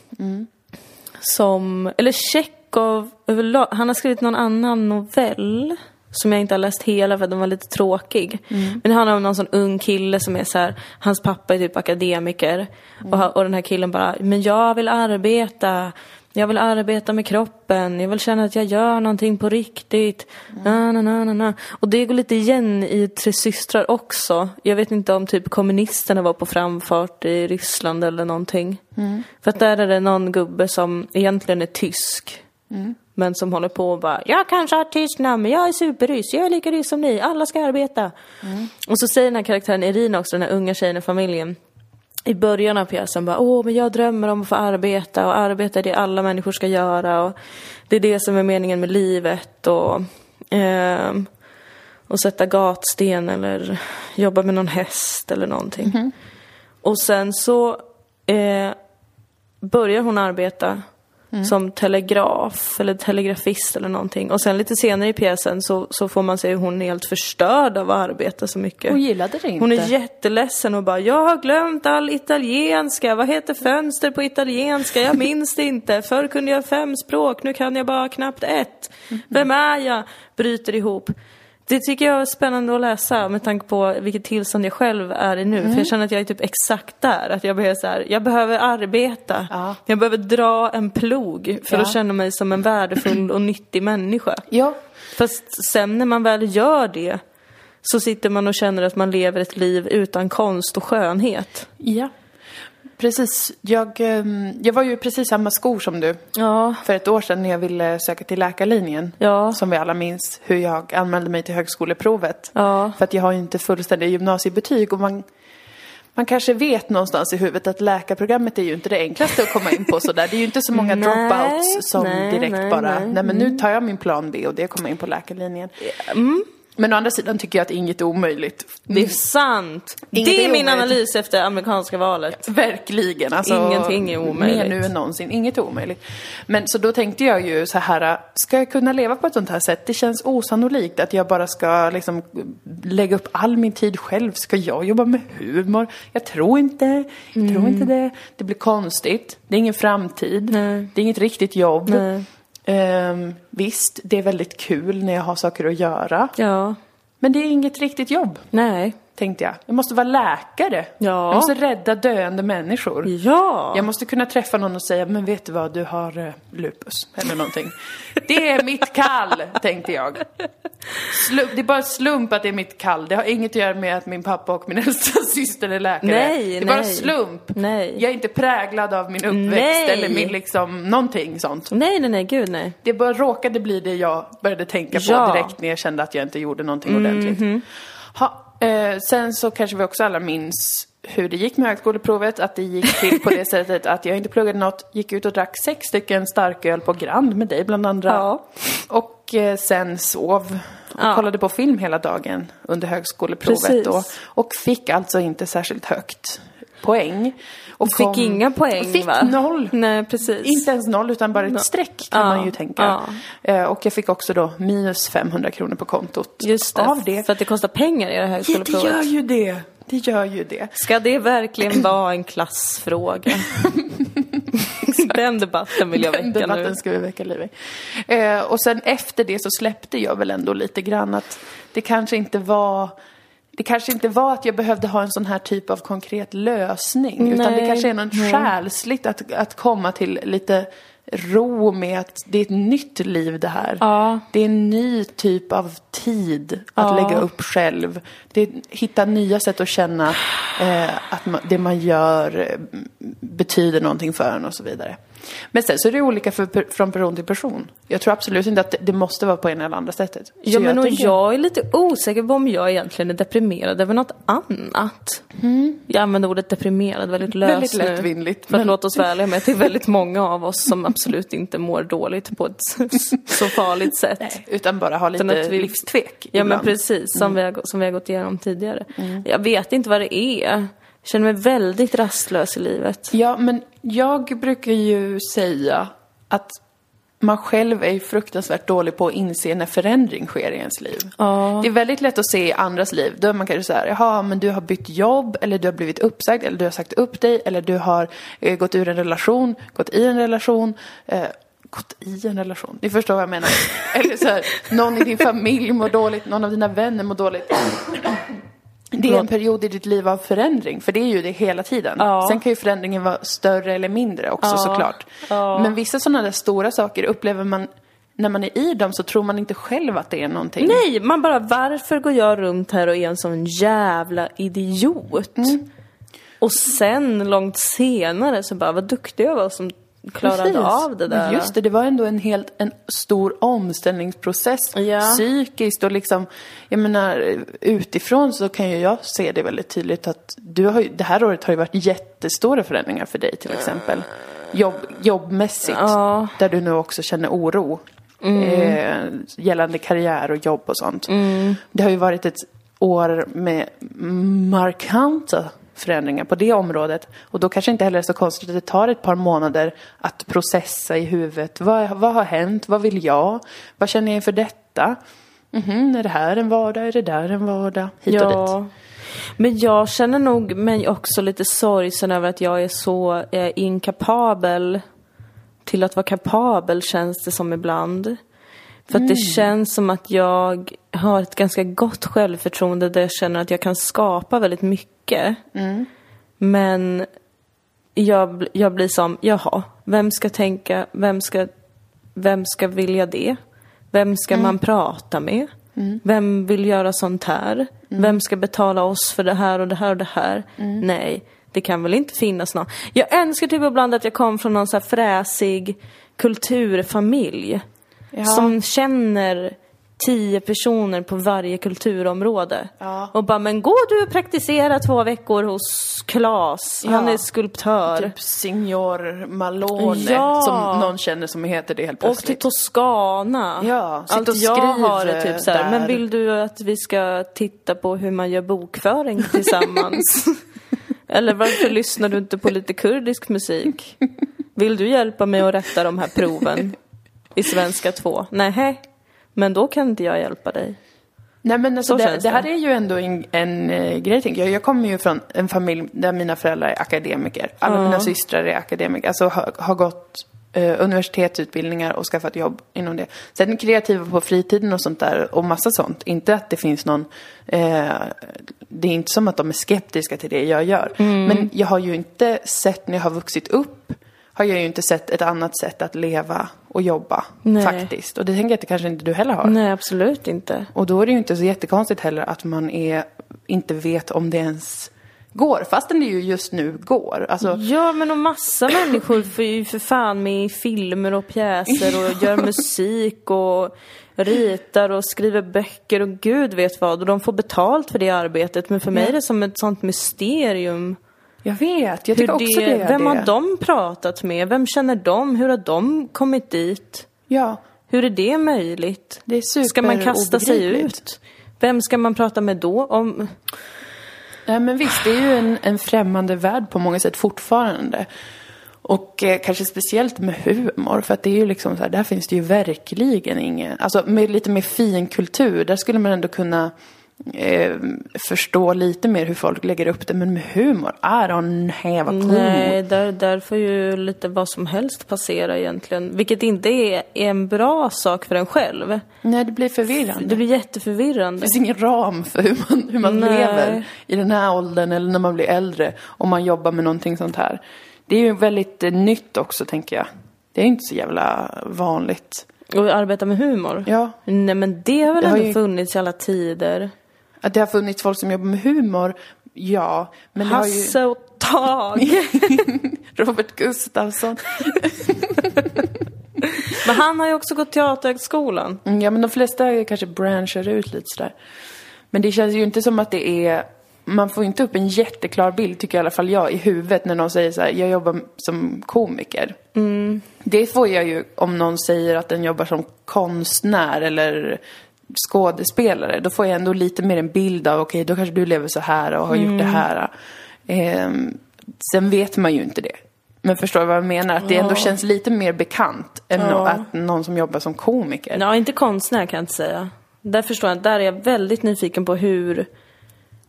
[SPEAKER 2] Som, eller Tjechov överlag, han har skrivit någon annan novell. Som jag inte har läst hela för att den var lite tråkig. Men det handlar om någon sån ung kille som är så här, hans pappa är typ akademiker. Och, ha- och den här killen bara, men jag vill arbeta. Jag vill arbeta med kroppen, jag vill känna att jag gör någonting på riktigt. Na, na, na, na, na. Och det går lite igen i Tre systrar också. Jag vet inte om typ kommunisterna var på framfart i Ryssland eller någonting. För att där är det någon gubbe som egentligen är tysk. Men som håller på och bara, jag kanske har tyst namn, men jag är superryss, jag är lika ryss som ni, alla ska arbeta. Och så säger den här karaktären Irina också, den här unga tjejen i familjen, i början av pjäsen bara, åh men jag drömmer om att få arbeta och arbeta är det alla människor ska göra och det är det som är meningen med livet och ehm, och sätta gatsten eller jobba med någon häst eller någonting. Och sen så eh, börjar hon arbeta som telegraf eller telegrafist eller någonting. Och sen lite senare i pjäsen så, så får man se hur hon är helt förstörd av att arbeta så mycket.
[SPEAKER 1] Hon gillade det inte.
[SPEAKER 2] Hon är jätteledsen och bara, jag har glömt all italienska, vad heter fönster på italienska, jag minns det inte, förr kunde jag fem språk, nu kan jag bara knappt ett. Vem är jag? Bryter ihop. Det tycker jag är spännande att läsa med tanke på vilket tillstånd jag själv är i nu. För
[SPEAKER 1] Mm.
[SPEAKER 2] jag känner att jag är typ exakt där. Att jag behöver så här, jag behöver arbeta.
[SPEAKER 1] Ja.
[SPEAKER 2] Jag behöver dra en plog för
[SPEAKER 1] Ja.
[SPEAKER 2] att känna mig som en värdefull och nyttig människa.
[SPEAKER 1] Ja,
[SPEAKER 2] Fast sen när man väl gör det så sitter man och känner att man lever ett liv utan konst och skönhet.
[SPEAKER 1] ja. Precis. Jag, ehm, jag var ju i precis samma skor som du.
[SPEAKER 2] Ja.
[SPEAKER 1] För ett år sedan när jag ville söka till läkarlinjen.
[SPEAKER 2] Ja.
[SPEAKER 1] Som vi alla minns hur jag anmälde mig till högskoleprovet.
[SPEAKER 2] Ja.
[SPEAKER 1] För att jag har ju inte fullständiga gymnasiebetyg och man, man kanske vet någonstans i huvudet att läkarprogrammet är ju inte det enklaste att komma in på sådär. Det är ju inte så många
[SPEAKER 2] Nej,
[SPEAKER 1] dropouts som
[SPEAKER 2] nej,
[SPEAKER 1] direkt
[SPEAKER 2] nej, Mm.
[SPEAKER 1] bara,
[SPEAKER 2] nej. mm.
[SPEAKER 1] nej men nu tar jag min plan B och det kommer in på läkarlinjen. Men å andra sidan tycker jag att inget är omöjligt.
[SPEAKER 2] Det är sant!
[SPEAKER 1] Inget
[SPEAKER 2] det
[SPEAKER 1] är
[SPEAKER 2] är min
[SPEAKER 1] omöjligt.
[SPEAKER 2] analys efter amerikanska valet.
[SPEAKER 1] Verkligen. Alltså,
[SPEAKER 2] Ingenting är omöjligt.
[SPEAKER 1] Mer nu än någonsin. Inget är omöjligt. Men så då tänkte jag ju så här, ska jag kunna leva på ett sånt här sätt? Det känns osannolikt att jag bara ska liksom lägga upp all min tid själv. Ska jag jobba med humor? Jag tror inte. Jag
[SPEAKER 2] Mm.
[SPEAKER 1] tror inte det. Det blir konstigt. Det är ingen framtid.
[SPEAKER 2] Nej.
[SPEAKER 1] Det är inget riktigt jobb.
[SPEAKER 2] Nej.
[SPEAKER 1] Ehm, visst, det är väldigt kul när jag har saker att göra.
[SPEAKER 2] Ja.
[SPEAKER 1] Men det är inget riktigt jobb,
[SPEAKER 2] Nej.
[SPEAKER 1] tänkte jag. Jag måste vara läkare.
[SPEAKER 2] Ja.
[SPEAKER 1] Jag måste rädda döende människor.
[SPEAKER 2] Ja!
[SPEAKER 1] Jag måste kunna träffa någon och säga, men vet du vad, du har eh, lupus eller någonting. Det är mitt kall, tänkte jag. Slump, det är bara slump att det är mitt kall. Det har inget att göra med att min pappa och min äldsta syster är läkare.
[SPEAKER 2] Nej,
[SPEAKER 1] det är bara
[SPEAKER 2] nej.
[SPEAKER 1] slump.
[SPEAKER 2] Nej.
[SPEAKER 1] Jag är inte präglad av min uppväxt
[SPEAKER 2] Nej.
[SPEAKER 1] eller min liksom, någonting sånt.
[SPEAKER 2] Nej, nej, nej, gud nej.
[SPEAKER 1] Det bara råkade bli det jag började tänka på
[SPEAKER 2] Ja. Mm-hmm.
[SPEAKER 1] direkt när jag kände att jag inte gjorde någonting ordentligt. Ha, eh, sen så kanske vi också alla minns hur det gick med högskoleprovet, att det gick till på det sättet att jag inte pluggade något, gick ut och drack sex stycken starköl på Grand med dig bland andra.
[SPEAKER 2] Ja.
[SPEAKER 1] Och eh, sen sov och
[SPEAKER 2] Ja.
[SPEAKER 1] kollade på film hela dagen under högskoleprovet
[SPEAKER 2] Precis.
[SPEAKER 1] då. Och fick alltså inte särskilt högt poäng. Och
[SPEAKER 2] Fick inga poäng
[SPEAKER 1] Fick
[SPEAKER 2] va?
[SPEAKER 1] noll.
[SPEAKER 2] Nej, precis.
[SPEAKER 1] Inte ens noll utan bara ett streck kan
[SPEAKER 2] Ja,
[SPEAKER 1] man ju tänka. Eh, Och jag fick också då minus 500 kronor på kontot
[SPEAKER 2] Just det,
[SPEAKER 1] av det.
[SPEAKER 2] för att det kostar pengar i det här
[SPEAKER 1] Ja, det
[SPEAKER 2] högskoleprovet.
[SPEAKER 1] gör ju det. Det gör ju det.
[SPEAKER 2] Ska det verkligen vara en klassfråga? Den debatten vill jag
[SPEAKER 1] Den
[SPEAKER 2] väcka nu.
[SPEAKER 1] debatten ska vi väcka liv i. Eh, och sen efter det så släppte jag väl ändå lite grann att det kanske inte var det kanske inte var att jag behövde ha en sån här typ av konkret lösning. Utan det
[SPEAKER 2] Nej.
[SPEAKER 1] kanske är något själsligt att, att komma till lite ro med att det är ett nytt liv det här.
[SPEAKER 2] Ja.
[SPEAKER 1] Det är en ny typ av tid att lägga upp själv. Det är, hitta nya sätt att känna eh, att man, det man gör eh, betyder någonting för en och så vidare. Men sen så är det olika för, per- från person till person. Jag tror absolut inte att det, det måste vara på ena eller andra sättet. Så
[SPEAKER 2] Ja, men jag, och
[SPEAKER 1] tänker-
[SPEAKER 2] jag är lite osäker på om jag egentligen är deprimerad över något annat. Jag använder ordet deprimerad väldigt löst
[SPEAKER 1] Mm. Väldigt
[SPEAKER 2] nu.
[SPEAKER 1] lättvindigt,
[SPEAKER 2] För att
[SPEAKER 1] men-
[SPEAKER 2] låta oss vara ärliga med att det är väldigt många av oss som absolut inte mår dåligt på ett så farligt sätt.
[SPEAKER 1] Nej, utan bara ha
[SPEAKER 2] Utan
[SPEAKER 1] lite
[SPEAKER 2] att vi-
[SPEAKER 1] livstvek
[SPEAKER 2] Ja
[SPEAKER 1] ibland. Mm.
[SPEAKER 2] men precis, som, vi har, gå- som vi har gått igenom tidigare. Jag vet inte vad det är. Jag känner mig väldigt rastlös i livet.
[SPEAKER 1] Ja, men jag brukar ju säga att man själv är ju fruktansvärt dålig på att inse när förändring sker i ens liv. Det är väldigt lätt att se i andras liv. Då är man kanske så här, jaha, men du har bytt jobb, eller du har blivit uppsagd, eller du har sagt upp dig, eller du har eh, gått ur en relation, gått i en relation, eh, gått i en relation. Ni förstår vad jag menar. eller så här, någon i din familj mår dåligt, någon av dina vänner mår dåligt. Det är en period i ditt liv av förändring, för det är ju det hela tiden.
[SPEAKER 2] Ja.
[SPEAKER 1] Sen kan ju förändringen vara större eller mindre också
[SPEAKER 2] Ja.
[SPEAKER 1] såklart. Men vissa sådana där stora saker upplever man, när man är i dem så tror man inte själv att det är någonting.
[SPEAKER 2] Nej, man bara varför går jag runt här och är en sån jävla idiot?
[SPEAKER 1] Mm.
[SPEAKER 2] Och sen långt senare så bara vad duktig jag var som klarade
[SPEAKER 1] Precis.
[SPEAKER 2] av det där.
[SPEAKER 1] Men Just det, det var ändå en helt en stor omställningsprocess
[SPEAKER 2] Ja.
[SPEAKER 1] psykiskt och liksom, jag menar utifrån så kan ju jag se det väldigt tydligt att du har ju, det här året har ju varit jättestora förändringar för dig till exempel. Jobb, jobbmässigt,
[SPEAKER 2] Ja.
[SPEAKER 1] där du nu också känner oro
[SPEAKER 2] Mm.
[SPEAKER 1] eh, gällande karriär och jobb och sånt.
[SPEAKER 2] Mm.
[SPEAKER 1] Det har ju varit ett år med markanta förändringar på det området. Och då kanske inte heller är så konstigt att det tar ett par månader att processa i huvudet. Vad, vad har hänt? Vad vill jag? Vad känner jag inför detta? Mhm, är det här en vardag? Är det där en vardag? Hit och dit.
[SPEAKER 2] Ja. Men jag känner nog mig också lite sorgsen över att jag är så eh, inkapabel till att vara kapabel känns det som ibland. För att det
[SPEAKER 1] Mm.
[SPEAKER 2] känns som att jag har ett ganska gott självförtroende där jag känner att jag kan skapa väldigt mycket.
[SPEAKER 1] Mm.
[SPEAKER 2] Men jag, bl- jag blir som, jaha, vem ska tänka, vem ska, vem ska vilja det? Vem ska
[SPEAKER 1] Mm.
[SPEAKER 2] man prata med? Vem vill göra sånt här?
[SPEAKER 1] Mm.
[SPEAKER 2] Vem ska betala oss för det här och det här och det här?
[SPEAKER 1] Mm.
[SPEAKER 2] Nej, det kan väl inte finnas någon. Jag önskar typ ibland att jag kom från någon så här fräsig kulturfamilj.
[SPEAKER 1] Ja.
[SPEAKER 2] Som känner tio personer på varje kulturområde.
[SPEAKER 1] Ja.
[SPEAKER 2] Och bara, men gå du och praktisera två veckor hos Klas. Han
[SPEAKER 1] Ja.
[SPEAKER 2] är skulptör.
[SPEAKER 1] Typ Signor Malone,
[SPEAKER 2] Ja.
[SPEAKER 1] som någon känner som heter det helt
[SPEAKER 2] Och till
[SPEAKER 1] plötsligt.
[SPEAKER 2] Toscana.
[SPEAKER 1] Ja, sitt
[SPEAKER 2] Allt
[SPEAKER 1] och
[SPEAKER 2] jag
[SPEAKER 1] skriv,
[SPEAKER 2] har är typ så här,
[SPEAKER 1] där.
[SPEAKER 2] men vill du att vi ska titta på hur man gör bokföring tillsammans? Eller varför lyssnar du inte på lite kurdisk musik? Vill du hjälpa mig att rätta de här proven i svenska 2? Nej, men då kan inte jag hjälpa dig.
[SPEAKER 1] Nej men alltså
[SPEAKER 2] Så
[SPEAKER 1] det,
[SPEAKER 2] känns
[SPEAKER 1] det här
[SPEAKER 2] det.
[SPEAKER 1] är ju ändå en, en eh, grej tänker jag. Jag kommer ju från en familj där mina föräldrar är akademiker. Alla mina systrar är akademiker. Alltså har, har gått eh, universitetsutbildningar och skaffat jobb inom det. Sen kreativa på fritiden och sånt där och massa sånt. Inte att det finns någon, eh, det är inte som att de är skeptiska till det jag gör.
[SPEAKER 2] Mm.
[SPEAKER 1] Men jag har ju inte sett när jag har vuxit upp har jag ju inte sett ett annat sätt att leva och jobba
[SPEAKER 2] Nej.
[SPEAKER 1] faktiskt. Och det tänker jag att det kanske inte du heller har.
[SPEAKER 2] Nej, absolut inte.
[SPEAKER 1] Och då är det ju inte så jättekonstigt heller att man är, inte vet om det ens går. Fastän det ju just nu går. Alltså,
[SPEAKER 2] Ja, men och massa människor får ju för fan med i filmer och pjäser och gör musik och ritar och skriver böcker och gud vet vad. Och de får betalt för det arbetet. Men för mig är det som ett sånt mysterium.
[SPEAKER 1] jag vet, jag
[SPEAKER 2] Hur
[SPEAKER 1] tycker också det. är
[SPEAKER 2] vem
[SPEAKER 1] det.
[SPEAKER 2] har de pratat med? Vem känner de? Hur har de kommit dit?
[SPEAKER 1] Ja,
[SPEAKER 2] Hur är det möjligt?
[SPEAKER 1] det är super
[SPEAKER 2] Ska man kasta sig
[SPEAKER 1] obegripligt.
[SPEAKER 2] ut? Vem ska man prata med då? Om...
[SPEAKER 1] Nej men visst, det är ju en, en främmande värld på många sätt fortfarande. Och eh, kanske speciellt med humor, för att det är ju liksom så här, där finns det ju verkligen ingen, alltså med lite mer finkultur, där skulle man ändå kunna eh, förstå lite mer hur folk lägger upp det, men med humor, I don't have a clue.
[SPEAKER 2] Nej, där, där får ju lite vad som helst passera egentligen. Vilket inte är, är en bra sak för en själv.
[SPEAKER 1] Nej, det blir förvirrande.
[SPEAKER 2] Det
[SPEAKER 1] Det
[SPEAKER 2] blir jätteförvirrande.
[SPEAKER 1] finns ingen ram för hur man, hur man
[SPEAKER 2] Nej.
[SPEAKER 1] lever i den här åldern eller när man blir äldre om man jobbar med någonting sånt här. Det är ju väldigt eh, nytt också, tänker jag. Det är inte så jävla vanligt.
[SPEAKER 2] Och arbeta med humor.
[SPEAKER 1] Ja,
[SPEAKER 2] Nej men det har väl
[SPEAKER 1] Det har
[SPEAKER 2] ändå
[SPEAKER 1] ju-
[SPEAKER 2] funnits i alla tider.
[SPEAKER 1] att det har funnits folk som jobbar med humor, ja. Men det har ju
[SPEAKER 2] Hasse och Tage.
[SPEAKER 1] Robert Gustafsson.
[SPEAKER 2] men han har ju också gått Teaterhögskolan.
[SPEAKER 1] Mm, Ja, men de flesta kanske branschar ut lite sådär. Men det känns ju inte som att det är... Man får ju inte upp en jätteklar bild, tycker i alla fall jag, i huvudet när någon säger så här, jag jobbar som komiker. Det får jag ju om någon säger att den jobbar som konstnär eller skådespelare. Då får jag ändå lite mer en bild av, okej, då kanske du lever så här och har gjort det här. Ehm, sen vet man ju inte det. Men förstår du vad jag menar? Att det ändå känns lite mer bekant än att någon som jobbar som komiker.
[SPEAKER 2] Ja, inte konstnär kan jag inte säga. Där förstår jag, där är jag väldigt nyfiken på hur,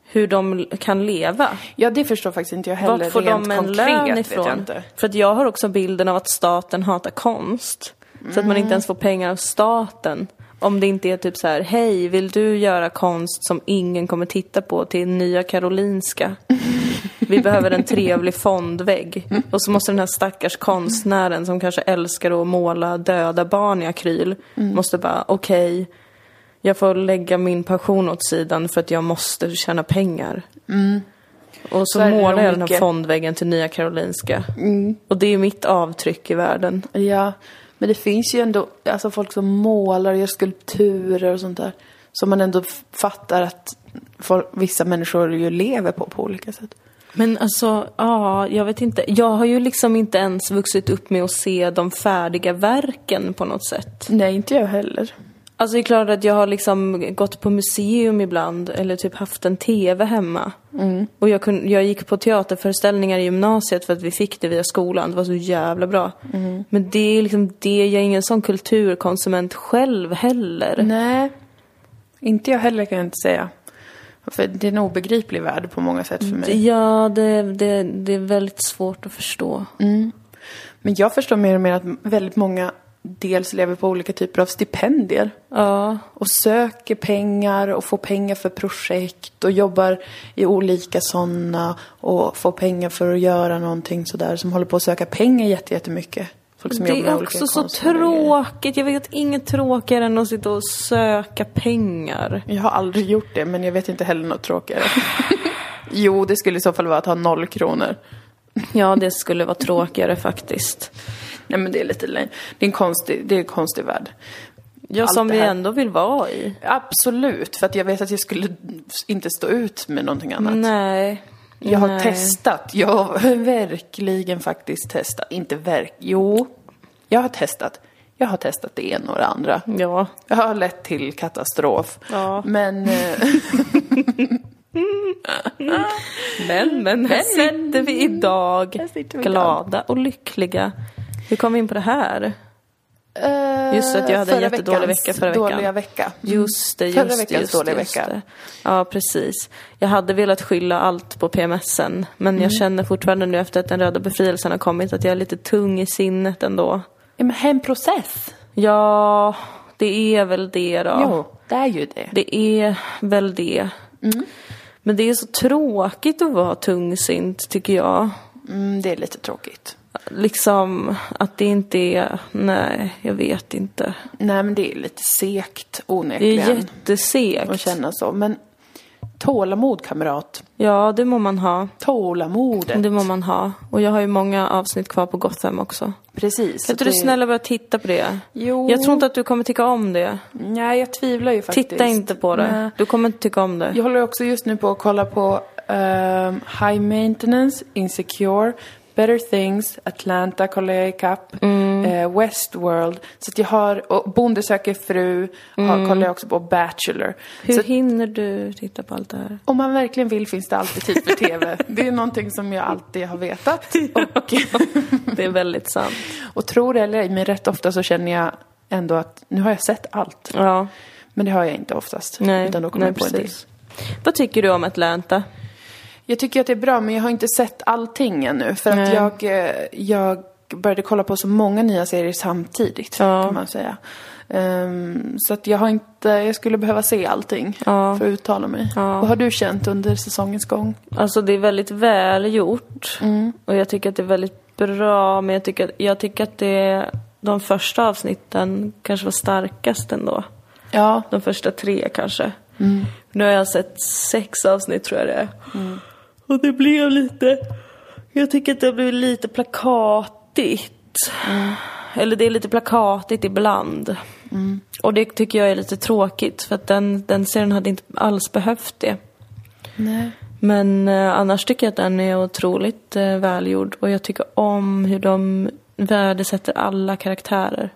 [SPEAKER 2] hur de kan leva.
[SPEAKER 1] Ja, det förstår faktiskt inte jag heller.
[SPEAKER 2] Vart får
[SPEAKER 1] Rent
[SPEAKER 2] de en
[SPEAKER 1] konkret
[SPEAKER 2] lön
[SPEAKER 1] Vet jag
[SPEAKER 2] ifrån?
[SPEAKER 1] inte.
[SPEAKER 2] För att jag har också bilden av att staten hatar konst. Så att man inte ens får pengar av staten. Om det inte är typ så här, hej, vill du göra konst som ingen kommer titta på till Nya Karolinska? Vi behöver en trevlig fondvägg. Och så måste den här stackars konstnären som kanske älskar att måla döda barn i akryl, måste bara, okej, jag får lägga min passion åt sidan för att jag måste tjäna pengar. Och Mm. så,
[SPEAKER 1] Så är det nog
[SPEAKER 2] målar jag den här
[SPEAKER 1] mycket.
[SPEAKER 2] fondväggen till Nya Karolinska. Och det är mitt avtryck i världen.
[SPEAKER 1] Ja, men det finns ju ändå alltså folk som målar och gör skulpturer och sånt där. Som man ändå f- fattar att folk, vissa människor ju lever på, på olika sätt.
[SPEAKER 2] Men alltså, ja, jag vet inte. Jag har ju liksom inte ens vuxit upp med att se de färdiga verken på något sätt.
[SPEAKER 1] Nej, inte jag heller.
[SPEAKER 2] Alltså det är klart att jag har liksom gått på museum ibland, eller typ haft en TV hemma. Och jag, kun, jag gick på teaterföreställningar i gymnasiet för att vi fick det via skolan, det var så jävla bra. Men det är liksom det, jag är ingen sån kulturkonsument själv heller.
[SPEAKER 1] Nej, inte jag heller kan jag inte säga. För det är en obegriplig värld på många sätt för mig.
[SPEAKER 2] Ja, Mm, det, det, det är väldigt svårt att förstå.
[SPEAKER 1] Men jag förstår mer och mer att väldigt många dels lever på olika typer av stipendier.
[SPEAKER 2] Ja.
[SPEAKER 1] och söker pengar och får pengar för projekt och jobbar i olika sådana och får pengar för att göra någonting sådär som håller på att söka pengar jätte- jättemycket. Folk som
[SPEAKER 2] Det
[SPEAKER 1] jobbar med
[SPEAKER 2] är
[SPEAKER 1] olika
[SPEAKER 2] också så
[SPEAKER 1] konstnärliga grejer.
[SPEAKER 2] tråkigt. Jag vet inget tråkigare än att sitta och söka pengar.
[SPEAKER 1] Jag har aldrig gjort det men jag vet inte heller något tråkigare. jo, det skulle i så fall vara att ha noll kronor.
[SPEAKER 2] Ja, det skulle vara tråkigare faktiskt.
[SPEAKER 1] Nej men det är lite lame. Det är en konstig, det är en konstig värld.
[SPEAKER 2] Ja,
[SPEAKER 1] allt
[SPEAKER 2] som
[SPEAKER 1] det
[SPEAKER 2] vi
[SPEAKER 1] här.
[SPEAKER 2] ändå vill vara i.
[SPEAKER 1] Absolut, för att jag vet att jag skulle inte stå ut med någonting annat.
[SPEAKER 2] Nej.
[SPEAKER 1] Jag har
[SPEAKER 2] Nej.
[SPEAKER 1] testat. Jag har verkligen faktiskt testat. Inte verk... Jo. Jag har testat. Jag har testat det ena och det andra.
[SPEAKER 2] Ja.
[SPEAKER 1] Jag har lett till katastrof.
[SPEAKER 2] Ja.
[SPEAKER 1] Men... eh,
[SPEAKER 2] Men, men, här sitter vi idag
[SPEAKER 1] Här sitter vi
[SPEAKER 2] glada och lyckliga. Hur kom vi in på det här?
[SPEAKER 1] eh,
[SPEAKER 2] Just det, att jag hade en
[SPEAKER 1] förra
[SPEAKER 2] jättedålig
[SPEAKER 1] veckans
[SPEAKER 2] vecka förra veckan.
[SPEAKER 1] Dåliga vecka. Mm.
[SPEAKER 2] Just det, just
[SPEAKER 1] Förra
[SPEAKER 2] det,
[SPEAKER 1] veckans
[SPEAKER 2] just
[SPEAKER 1] dåliga
[SPEAKER 2] det, just
[SPEAKER 1] vecka.
[SPEAKER 2] det. Ja, precis. Jag hade velat skylla allt på PMSen, men
[SPEAKER 1] Mm.
[SPEAKER 2] jag känner fortfarande nu efter att den röda befrielsen har kommit att jag är lite tung i sinnet ändå.
[SPEAKER 1] Ja, men hemprocess.
[SPEAKER 2] Ja, det är väl det då.
[SPEAKER 1] Jo, det är ju det.
[SPEAKER 2] Det är väl det.
[SPEAKER 1] Mm.
[SPEAKER 2] Men det är så tråkigt att vara tungsint tycker jag.
[SPEAKER 1] Mm, det är lite tråkigt.
[SPEAKER 2] Liksom att det inte är, nej jag vet inte.
[SPEAKER 1] Nej, men det är lite segt
[SPEAKER 2] Det
[SPEAKER 1] onekligen.
[SPEAKER 2] är
[SPEAKER 1] Att
[SPEAKER 2] jättesegt.
[SPEAKER 1] känna så. Men tålamod, kamrat.
[SPEAKER 2] Ja det må man ha.
[SPEAKER 1] Tålamodet.
[SPEAKER 2] Det må man ha. Och jag har ju många avsnitt kvar på Gotham också.
[SPEAKER 1] Precis.
[SPEAKER 2] Kan inte du
[SPEAKER 1] det-
[SPEAKER 2] snälla börja titta på det?
[SPEAKER 1] Jo.
[SPEAKER 2] Jag tror inte att du kommer tycka om det.
[SPEAKER 1] Nej, jag tvivlar ju faktiskt.
[SPEAKER 2] Titta inte på det.
[SPEAKER 1] Nej.
[SPEAKER 2] Du kommer inte tycka om det.
[SPEAKER 1] Jag håller också just nu på att kolla på ehm, High Maintenance, Insecure, Better Things, Atlanta kollar jag ikapp,
[SPEAKER 2] Mm.
[SPEAKER 1] eh, Westworld. Så att jag har, och Bonde söker fru har, kollar jag också på, Bachelor.
[SPEAKER 2] Mm. Hur
[SPEAKER 1] Så att
[SPEAKER 2] hinner du titta på allt det här?
[SPEAKER 1] om man verkligen vill finns det alltid tid för TV. det är någonting som jag alltid har vetat. Och,
[SPEAKER 2] Det är väldigt sant.
[SPEAKER 1] och tror det eller ej, men rätt ofta så känner jag ändå att nu har jag sett allt.
[SPEAKER 2] Ja.
[SPEAKER 1] Men det har jag inte oftast.
[SPEAKER 2] Nej,
[SPEAKER 1] utan då kommer
[SPEAKER 2] nej,
[SPEAKER 1] jag på en del.
[SPEAKER 2] precis. Vad tycker du om Atlanta?
[SPEAKER 1] Jag tycker att det är bra, men jag har inte sett allting ännu. För att
[SPEAKER 2] Nej.
[SPEAKER 1] jag, eh, jag började kolla på så många nya serier samtidigt,
[SPEAKER 2] Ja.
[SPEAKER 1] kan man säga. Ehm, så att jag har inte, jag skulle behöva se allting
[SPEAKER 2] Ja.
[SPEAKER 1] för att uttala mig.
[SPEAKER 2] Ja.
[SPEAKER 1] Vad har du känt under säsongens gång?
[SPEAKER 2] Alltså det är väldigt välgjort. Och jag tycker att det är väldigt bra. Men jag tycker att, jag tycker att det, de första avsnitten kanske var starkast ändå.
[SPEAKER 1] Ja,
[SPEAKER 2] De första tre kanske.
[SPEAKER 1] Mm.
[SPEAKER 2] Nu har jag sett sex avsnitt tror jag det är. Och det blev lite... Jag tycker att det blev lite plakatigt.
[SPEAKER 1] Mm.
[SPEAKER 2] Eller det är lite plakatigt ibland.
[SPEAKER 1] Mm.
[SPEAKER 2] Och det tycker jag är lite tråkigt för att den, den serien hade inte alls behövt det.
[SPEAKER 1] nej.
[SPEAKER 2] Men eh, annars tycker jag att den är otroligt eh, välgjord och jag tycker om hur de värdesätter alla karaktärer.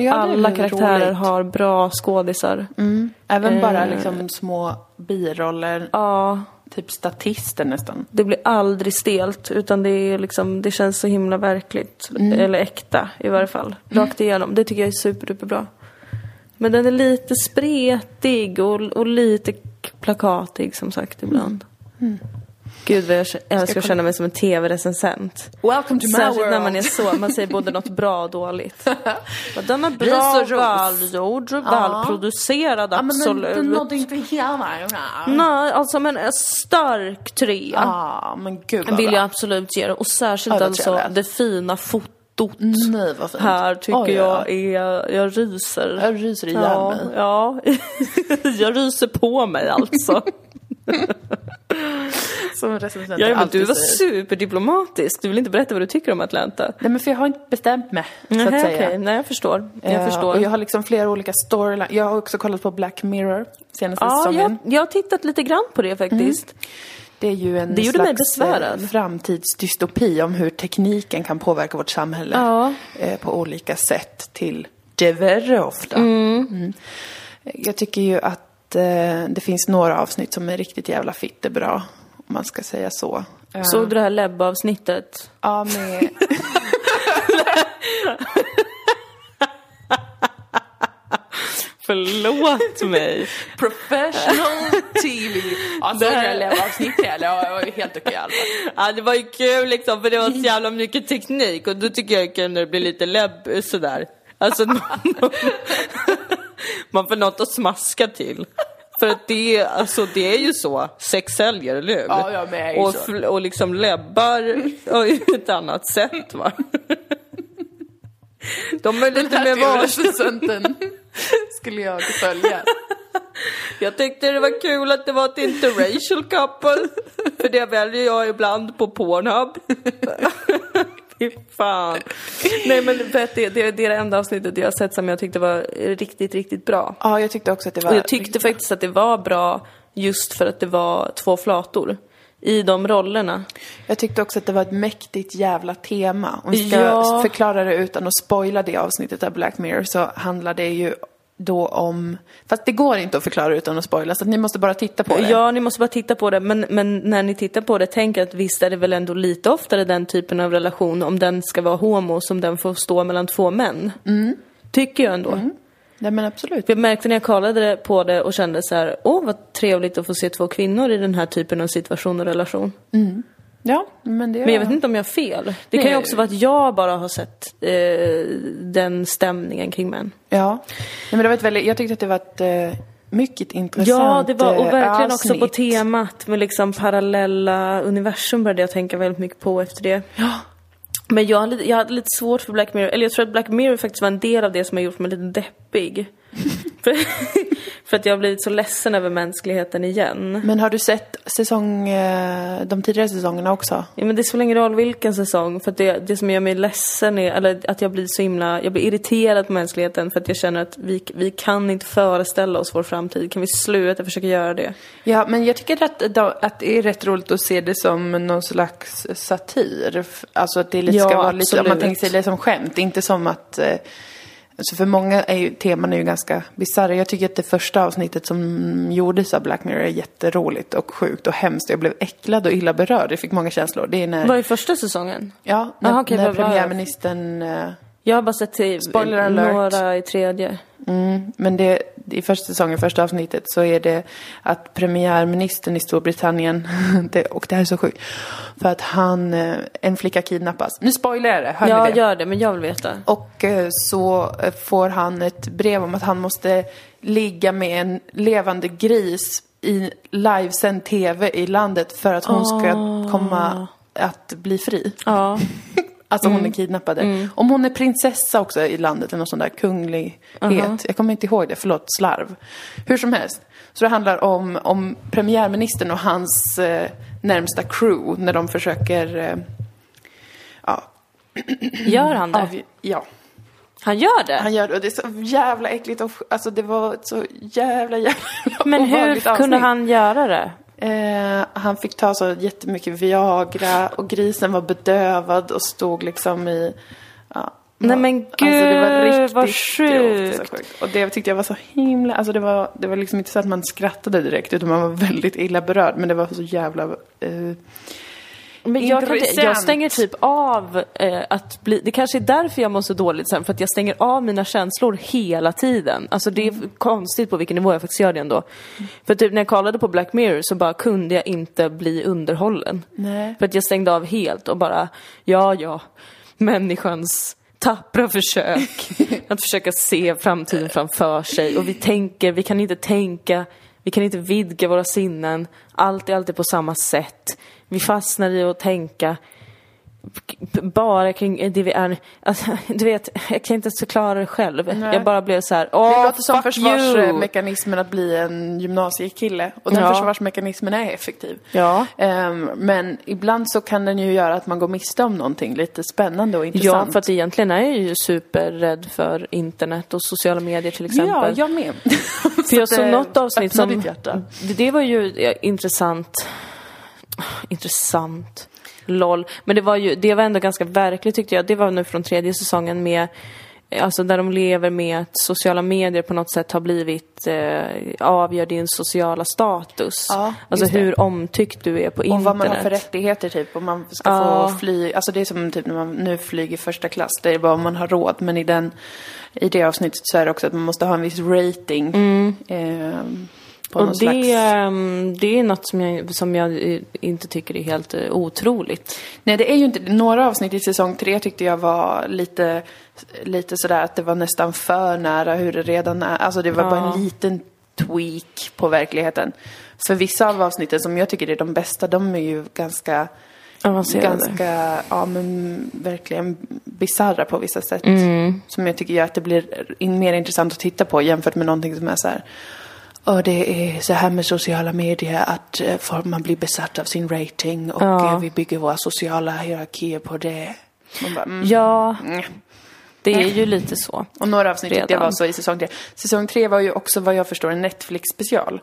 [SPEAKER 1] Ja, det är
[SPEAKER 2] alla
[SPEAKER 1] väl
[SPEAKER 2] karaktärer
[SPEAKER 1] roligt.
[SPEAKER 2] har bra skådisar.
[SPEAKER 1] Mm. Även
[SPEAKER 2] Eh.
[SPEAKER 1] bara liksom små biroller,
[SPEAKER 2] Ja,
[SPEAKER 1] typ statister nästan.
[SPEAKER 2] det blir aldrig stelt utan det är liksom, det känns så himla verkligt.
[SPEAKER 1] Mm.
[SPEAKER 2] Eller äkta i varje fall. Rakt igenom. Det tycker jag är superduperbra. Men den är lite spretig och, och lite k- plakatig som sagt ibland.
[SPEAKER 1] Mm.
[SPEAKER 2] Gud vad jag k- älskar att känna mig som en tv-recensent.
[SPEAKER 1] Welcome to my
[SPEAKER 2] Särskilt när
[SPEAKER 1] world.
[SPEAKER 2] man är så, man säger både något bra och dåligt. Bara, Den är
[SPEAKER 1] Ris
[SPEAKER 2] bra,
[SPEAKER 1] och ros.
[SPEAKER 2] välgjord, välproducerad
[SPEAKER 1] Ja, men den,
[SPEAKER 2] absolut.
[SPEAKER 1] den nådde inte hela vägen.
[SPEAKER 2] Nej, alltså men en stark trea.
[SPEAKER 1] Ja, Mm. Ah, men gud vad
[SPEAKER 2] vill
[SPEAKER 1] bra.
[SPEAKER 2] jag absolut ge det. Och särskilt
[SPEAKER 1] Ja, vad
[SPEAKER 2] alltså
[SPEAKER 1] trevligt.
[SPEAKER 2] det fina fotot.
[SPEAKER 1] Nej, vad fint.
[SPEAKER 2] Här tycker
[SPEAKER 1] Oj, oj,
[SPEAKER 2] jag
[SPEAKER 1] oj.
[SPEAKER 2] är, jag ryser.
[SPEAKER 1] Jag ryser ihjäl
[SPEAKER 2] ja,
[SPEAKER 1] mig.
[SPEAKER 2] ja. jag ryser på mig alltså.
[SPEAKER 1] Som recensenter
[SPEAKER 2] ja, men du
[SPEAKER 1] alltid
[SPEAKER 2] var
[SPEAKER 1] säger.
[SPEAKER 2] superdiplomatisk. Du vill inte berätta vad du tycker om Atlanta.
[SPEAKER 1] Nej men för jag har inte bestämt mig, så att
[SPEAKER 2] Nej,
[SPEAKER 1] säga.
[SPEAKER 2] okej. Nej, jag förstår. Jag
[SPEAKER 1] Eh,
[SPEAKER 2] förstår.
[SPEAKER 1] Och jag har liksom flera olika storylines. Jag har också kollat på Black Mirror senaste
[SPEAKER 2] Ah, Ja,
[SPEAKER 1] säsongen. Mm.
[SPEAKER 2] jag, jag har tittat lite grann på det faktiskt.
[SPEAKER 1] Det är ju en
[SPEAKER 2] Det gjorde mig
[SPEAKER 1] slags
[SPEAKER 2] besvärad.
[SPEAKER 1] eh, framtidsdystopi om hur tekniken kan påverka vårt samhälle
[SPEAKER 2] Ja.
[SPEAKER 1] eh, på olika sätt till det värre ofta. Mm. Jag tycker ju att eh, det finns några avsnitt som är riktigt jävla fittebra, om man ska säga så. Eh,
[SPEAKER 2] Såg du det här Lebbe-avsnittet?
[SPEAKER 1] Ja, med...
[SPEAKER 2] Förlåt mig.
[SPEAKER 1] Professional Alltså, TV! Ja,
[SPEAKER 2] Det här-
[SPEAKER 1] Leva-avsnittet, eller? Ja, jag var ju helt okej Mm. alltså.
[SPEAKER 2] Ja, det var ju kul liksom för det var så jävla mycket teknik och då tycker jag det är kul när det blir lite läbb sådär. Alltså man, man får något att smaska till. För att det, är- alltså, det är ju så, sex säljer, eller hur?
[SPEAKER 1] Ja, ja, men det är ju
[SPEAKER 2] och,
[SPEAKER 1] så.
[SPEAKER 2] fl- och liksom läbbar och ju ett annat sätt va. De är lite mer vars.
[SPEAKER 1] recensenten skulle jag följa.
[SPEAKER 2] Jag tyckte det var kul att det var ett interracial couple. För det väljer jag ibland på Pornhub. Fy fan. Nej men för att det, det, det är det enda avsnittet jag har sett som jag tyckte var riktigt, riktigt bra.
[SPEAKER 1] Ja, jag tyckte också att det var...
[SPEAKER 2] Och jag tyckte faktiskt att det var bra just för att det var två flator i de rollerna.
[SPEAKER 1] Jag tyckte också att det var ett mäktigt jävla tema. Om vi ska
[SPEAKER 2] Ja.
[SPEAKER 1] förklara det utan att spoila det avsnittet av Black Mirror så handlar det ju då om... Fast det går inte att förklara utan att spoila så att ni måste bara titta på det.
[SPEAKER 2] Ja, ni måste bara titta på det. Men, men när ni tittar på det, tänk att visst är det väl ändå lite oftare den typen av relation, om den ska vara homo, som den får stå mellan två män.
[SPEAKER 1] Mm.
[SPEAKER 2] Tycker jag ändå.
[SPEAKER 1] Nej men absolut.
[SPEAKER 2] Jag märkte när jag kollade det- på det och kände så här, åh vad trevligt att få se två kvinnor i den här typen av situation och relation.
[SPEAKER 1] Ja, men det...
[SPEAKER 2] Men jag vet inte om jag har fel. Det kan ju
[SPEAKER 1] Nej.
[SPEAKER 2] också vara att jag bara har sett eh, den stämningen kring män.
[SPEAKER 1] Ja. Nej, men det var ett väldigt... Jag tyckte att det var ett eh, mycket intressant
[SPEAKER 2] Ja, det var och
[SPEAKER 1] eh,
[SPEAKER 2] verkligen också på
[SPEAKER 1] avsnitt.
[SPEAKER 2] temat med liksom parallella universum började jag tänka väldigt mycket på efter det.
[SPEAKER 1] Ja.
[SPEAKER 2] Men jag, hade lite- jag hade lite svårt för Black Mirror, eller jag tror att Black Mirror faktiskt var en del av det som har gjort mig lite deppig. för, för att jag har blivit så ledsen över mänskligheten igen.
[SPEAKER 1] Men har du sett säsong... Eh, de tidigare säsongerna också?
[SPEAKER 2] Ja, men det spelar ingen roll vilken säsong, för att det, det som gör mig ledsen är eller att jag blir så himla, jag blir irriterad på mänskligheten för att jag känner att vi, vi kan inte föreställa oss vår framtid. Kan vi sluta försöka göra det?
[SPEAKER 1] Ja, men jag tycker att, då- att det är rätt roligt att se det som någon slags satir. F- Alltså att det lite
[SPEAKER 2] Ja,
[SPEAKER 1] ska vara lite, om man
[SPEAKER 2] absolut.
[SPEAKER 1] tänker sig det som skämt, inte som att... Eh, alltså för många är ju, teman är ju ganska bisarra. Jag tycker att det första avsnittet som gjordes av Black Mirror är jätteroligt och sjukt och hemskt. Jag blev äcklad och illa berörd. Jag fick många känslor. Det är när,
[SPEAKER 2] Vad är första säsongen?
[SPEAKER 1] ja, när,
[SPEAKER 2] Aha, okej,
[SPEAKER 1] när
[SPEAKER 2] vad var det?
[SPEAKER 1] premiärministern... Eh,
[SPEAKER 2] Jag har bara sett till
[SPEAKER 1] Spoiler alert.
[SPEAKER 2] några i tredje.
[SPEAKER 1] Men det, i första säsongen, första avsnittet, så är det att premiärministern i Storbritannien, det, och det här är så sjukt, för att han, eh, en flicka kidnappas. Nu spoilar jag det, hör
[SPEAKER 2] Ja,
[SPEAKER 1] ni det?
[SPEAKER 2] gör det, men jag vill veta.
[SPEAKER 1] Och eh, så eh, får han ett brev om att han måste ligga med en levande gris i livesänd tv i landet för att hon ska
[SPEAKER 2] Ah.
[SPEAKER 1] komma att bli fri.
[SPEAKER 2] Ja.
[SPEAKER 1] Alltså
[SPEAKER 2] Mm.
[SPEAKER 1] hon är kidnappade. Om hon är prinsessa också i landet, eller någon sån där kunglighet. Jag kommer inte ihåg det, förlåt, slarv. Hur som helst. Så det handlar om, om premiärministern och hans eh, närmsta crew när de försöker... Eh, ja,
[SPEAKER 2] Gör han det?
[SPEAKER 1] avg- ja,
[SPEAKER 2] Han gör det?
[SPEAKER 1] han gör det. Och det är så jävla äckligt och... Alltså det var ett så jävla, jävla
[SPEAKER 2] Men hur
[SPEAKER 1] obehagligt
[SPEAKER 2] kunde
[SPEAKER 1] avsnitt.
[SPEAKER 2] han göra det?
[SPEAKER 1] Eh, han fick ta så jättemycket Viagra och grisen var bedövad och stod liksom i... Ja, alltså,
[SPEAKER 2] Nej, men gud, vad
[SPEAKER 1] grovt och
[SPEAKER 2] sjukt.
[SPEAKER 1] så sjukt. Och det tyckte jag var så himla... Alltså det var, det var liksom inte så att man skrattade direkt utan man var väldigt illa berörd. Men det var så jävla... Eh,
[SPEAKER 2] Men jag, kan inte, jag
[SPEAKER 1] Intressant.
[SPEAKER 2] stänger typ av eh, att bli... Det kanske är därför jag mår så dåligt sen, för att jag stänger av mina känslor hela tiden. Alltså det är konstigt på vilken nivå jag faktiskt gör det ändå. För typ när jag kollade på Black Mirror så bara kunde jag inte bli underhållen.
[SPEAKER 1] Nej.
[SPEAKER 2] För att jag stängde av helt och bara, ja ja, människans tappra försök att försöka se framtiden framför sig. Och vi tänker, vi kan inte tänka, vi kan inte vidga våra sinnen. Allt är alltid på samma sätt. Vi fastnar i att tänka b- bara kring det vi är. Alltså, du vet, jag kan inte ens förklara det själv. Jag bara blev så här, åh,
[SPEAKER 1] det låter som
[SPEAKER 2] fuck you!
[SPEAKER 1] försvarsmekanismen att bli en gymnasiekille. Och den
[SPEAKER 2] Ja.
[SPEAKER 1] försvarsmekanismen är effektiv.
[SPEAKER 2] Ja.
[SPEAKER 1] Ehm, men ibland så kan den ju göra att man går miste om någonting lite spännande och intressant.
[SPEAKER 2] Ja, för att egentligen är jag ju superrädd för internet och sociala medier till exempel.
[SPEAKER 1] Ja, jag med.
[SPEAKER 2] För jag såg något avsnitt som...
[SPEAKER 1] Ditt hjärta.
[SPEAKER 2] Det, det var ju eh, intressant. Intressant. LOL. Men det var ju, det var ändå ganska verkligt tyckte jag. Det var nu från tredje säsongen med eh, Alltså där de lever med att sociala medier på något sätt har blivit, eh, avgör din sociala status.
[SPEAKER 1] Ja,
[SPEAKER 2] alltså
[SPEAKER 1] just det.
[SPEAKER 2] hur omtyckt du är på internet.
[SPEAKER 1] Och vad man har för rättigheter typ, om man ska
[SPEAKER 2] Ja.
[SPEAKER 1] få fly, alltså det är som typ när man nu flyger första klass, det är bara om man har råd, men i den, i det avsnittet så är det också att man måste ha en viss rating. ehm, på någon
[SPEAKER 2] Mm. Och
[SPEAKER 1] slags...
[SPEAKER 2] det, ehm, det är något som jag, som jag eh, inte tycker är helt eh, otroligt.
[SPEAKER 1] Nej, det är ju inte... Några avsnitt i säsong tre tyckte jag var lite, lite sådär att det var nästan för nära hur det redan är. Alltså det var bara en liten tweak på verkligheten. För vissa av avsnitten som jag tycker är de bästa, de är ju ganska...
[SPEAKER 2] Avancerade.
[SPEAKER 1] Ganska, ja men verkligen bisarra på vissa sätt.
[SPEAKER 2] Mm.
[SPEAKER 1] Som jag tycker gör att det blir in- mer intressant att titta på jämfört med någonting som är så här. Och det är så här med sociala medier att eh, folk- man blir besatt av sin rating och
[SPEAKER 2] Ja.
[SPEAKER 1] eh, vi bygger våra sociala hierarkier på det. Man bara, mm.
[SPEAKER 2] Ja,
[SPEAKER 1] mm.
[SPEAKER 2] det är ju lite så.
[SPEAKER 1] Och några avsnitt tyckte jag
[SPEAKER 2] Redan.
[SPEAKER 1] var så i säsong tre. Säsong tre var ju också vad jag förstår en Netflix-special.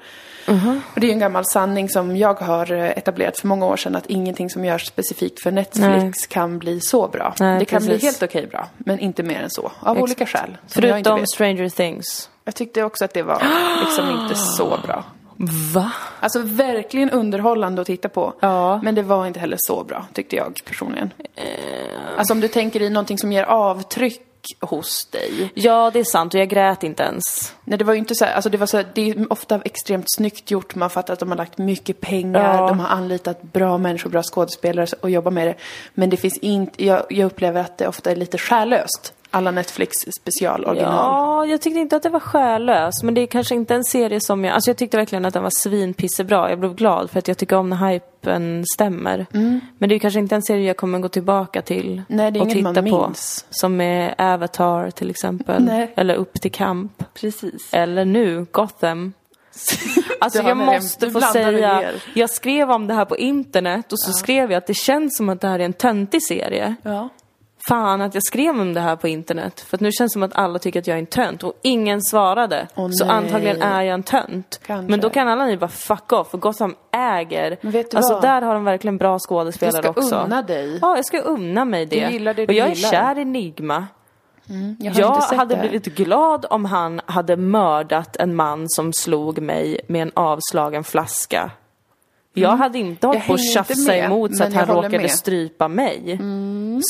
[SPEAKER 2] Mhm.
[SPEAKER 1] Och det är ju en gammal sanning som jag har eh, etablerat för många år sedan att ingenting som görs specifikt för Netflix
[SPEAKER 2] Nej.
[SPEAKER 1] kan bli så bra.
[SPEAKER 2] Nej,
[SPEAKER 1] det kan
[SPEAKER 2] precis.
[SPEAKER 1] bli helt okej bra, men inte mer än så. Av olika skäl. Som jag inte
[SPEAKER 2] Förutom
[SPEAKER 1] vet.
[SPEAKER 2] Stranger Things.
[SPEAKER 1] Jag tyckte också att det var liksom inte så bra.
[SPEAKER 2] Va?
[SPEAKER 1] Alltså verkligen underhållande att titta på.
[SPEAKER 2] Ja. Eh.
[SPEAKER 1] Men det var inte heller så bra, tyckte jag personligen. Alltså om du tänker i någonting som ger avtryck hos dig.
[SPEAKER 2] Ja, det är sant och jag grät inte ens.
[SPEAKER 1] Nej, det var ju inte så här, alltså det var så här, det är ofta extremt snyggt gjort, man fattar att de har lagt mycket pengar,
[SPEAKER 2] Ja.
[SPEAKER 1] de har anlitat bra människor, bra skådespelare och jobbar med det. Men det finns inte, jag, jag upplever att det ofta är lite själlöst. Alla Netflix specialoriginal.
[SPEAKER 2] Ja, jag tyckte inte att det var själlöst. Men det är kanske inte en serie som jag... Alltså jag tyckte verkligen att den var svinpissebra. Jag blev glad för att jag tycker om när hypen stämmer. Men det är kanske inte en serie jag kommer gå tillbaka till
[SPEAKER 1] Nej, det är
[SPEAKER 2] och
[SPEAKER 1] inget
[SPEAKER 2] titta
[SPEAKER 1] man
[SPEAKER 2] på.
[SPEAKER 1] minns.
[SPEAKER 2] Som är Avatar till exempel.
[SPEAKER 1] Nej.
[SPEAKER 2] Eller Upp till kamp.
[SPEAKER 1] Precis.
[SPEAKER 2] Eller nu, Gotham. Alltså
[SPEAKER 1] Du
[SPEAKER 2] jag
[SPEAKER 1] hamnar i en-
[SPEAKER 2] måste
[SPEAKER 1] du
[SPEAKER 2] få
[SPEAKER 1] blandar dig
[SPEAKER 2] säga,
[SPEAKER 1] ner.
[SPEAKER 2] jag skrev om det här på internet och så skrev jag att det känns som att det här är en töntig serie.
[SPEAKER 1] Ja.
[SPEAKER 2] Fan att jag skrev om det här på internet. För att nu känns det som att alla tycker att jag är en tönt och ingen svarade.
[SPEAKER 1] Åh,
[SPEAKER 2] så
[SPEAKER 1] nej.
[SPEAKER 2] antagligen är jag en tönt.
[SPEAKER 1] Kanske.
[SPEAKER 2] Men då kan alla ni bara fuck off för Gotham äger.
[SPEAKER 1] Men vet du
[SPEAKER 2] alltså
[SPEAKER 1] vad?
[SPEAKER 2] där har de verkligen bra
[SPEAKER 1] Du
[SPEAKER 2] skådespelare
[SPEAKER 1] ska
[SPEAKER 2] också.
[SPEAKER 1] unna dig.
[SPEAKER 2] Ja, jag ska unna mig det.
[SPEAKER 1] Du gillar det
[SPEAKER 2] och
[SPEAKER 1] du
[SPEAKER 2] jag är
[SPEAKER 1] gillar.
[SPEAKER 2] kär i Nigma.
[SPEAKER 1] Jag, har
[SPEAKER 2] Mm, Jag
[SPEAKER 1] inte sett
[SPEAKER 2] hade
[SPEAKER 1] det här.
[SPEAKER 2] blivit glad om han hade mördat en man som slog mig med en avslagen flaska. Jag hade inte hållit
[SPEAKER 1] Mm. Jag
[SPEAKER 2] på att
[SPEAKER 1] hänger inte
[SPEAKER 2] tjafsa
[SPEAKER 1] med,
[SPEAKER 2] emot så
[SPEAKER 1] men
[SPEAKER 2] att
[SPEAKER 1] jag
[SPEAKER 2] han
[SPEAKER 1] håller
[SPEAKER 2] råkade
[SPEAKER 1] med. Mm.
[SPEAKER 2] strypa mig.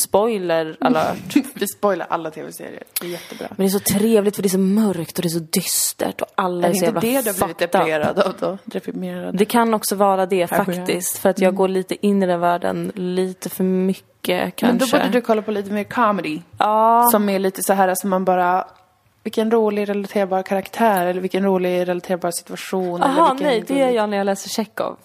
[SPEAKER 2] Spoiler alert.
[SPEAKER 1] Vi spoilar alla tv-serier, det är jättebra.
[SPEAKER 2] Men det är så trevligt för det är så mörkt och det är så dystert och alla är,
[SPEAKER 1] är
[SPEAKER 2] så
[SPEAKER 1] det inte
[SPEAKER 2] jävla
[SPEAKER 1] det du har blivit
[SPEAKER 2] fucked up.
[SPEAKER 1] deprimerad av då? Deprimerad?
[SPEAKER 2] Det kan också vara det
[SPEAKER 1] Kanske, ja.
[SPEAKER 2] faktiskt. För att
[SPEAKER 1] Mm.
[SPEAKER 2] jag går lite in i den världen lite för mycket kanske.
[SPEAKER 1] Men då borde du kolla på lite mer comedy.
[SPEAKER 2] Ja.
[SPEAKER 1] Som är lite så här som man bara... Vilken rolig relaterbar karaktär eller vilken rolig relaterbar situation. eller
[SPEAKER 2] Jaha,
[SPEAKER 1] vilken
[SPEAKER 2] nej, det gör jag när jag läser Tjechov.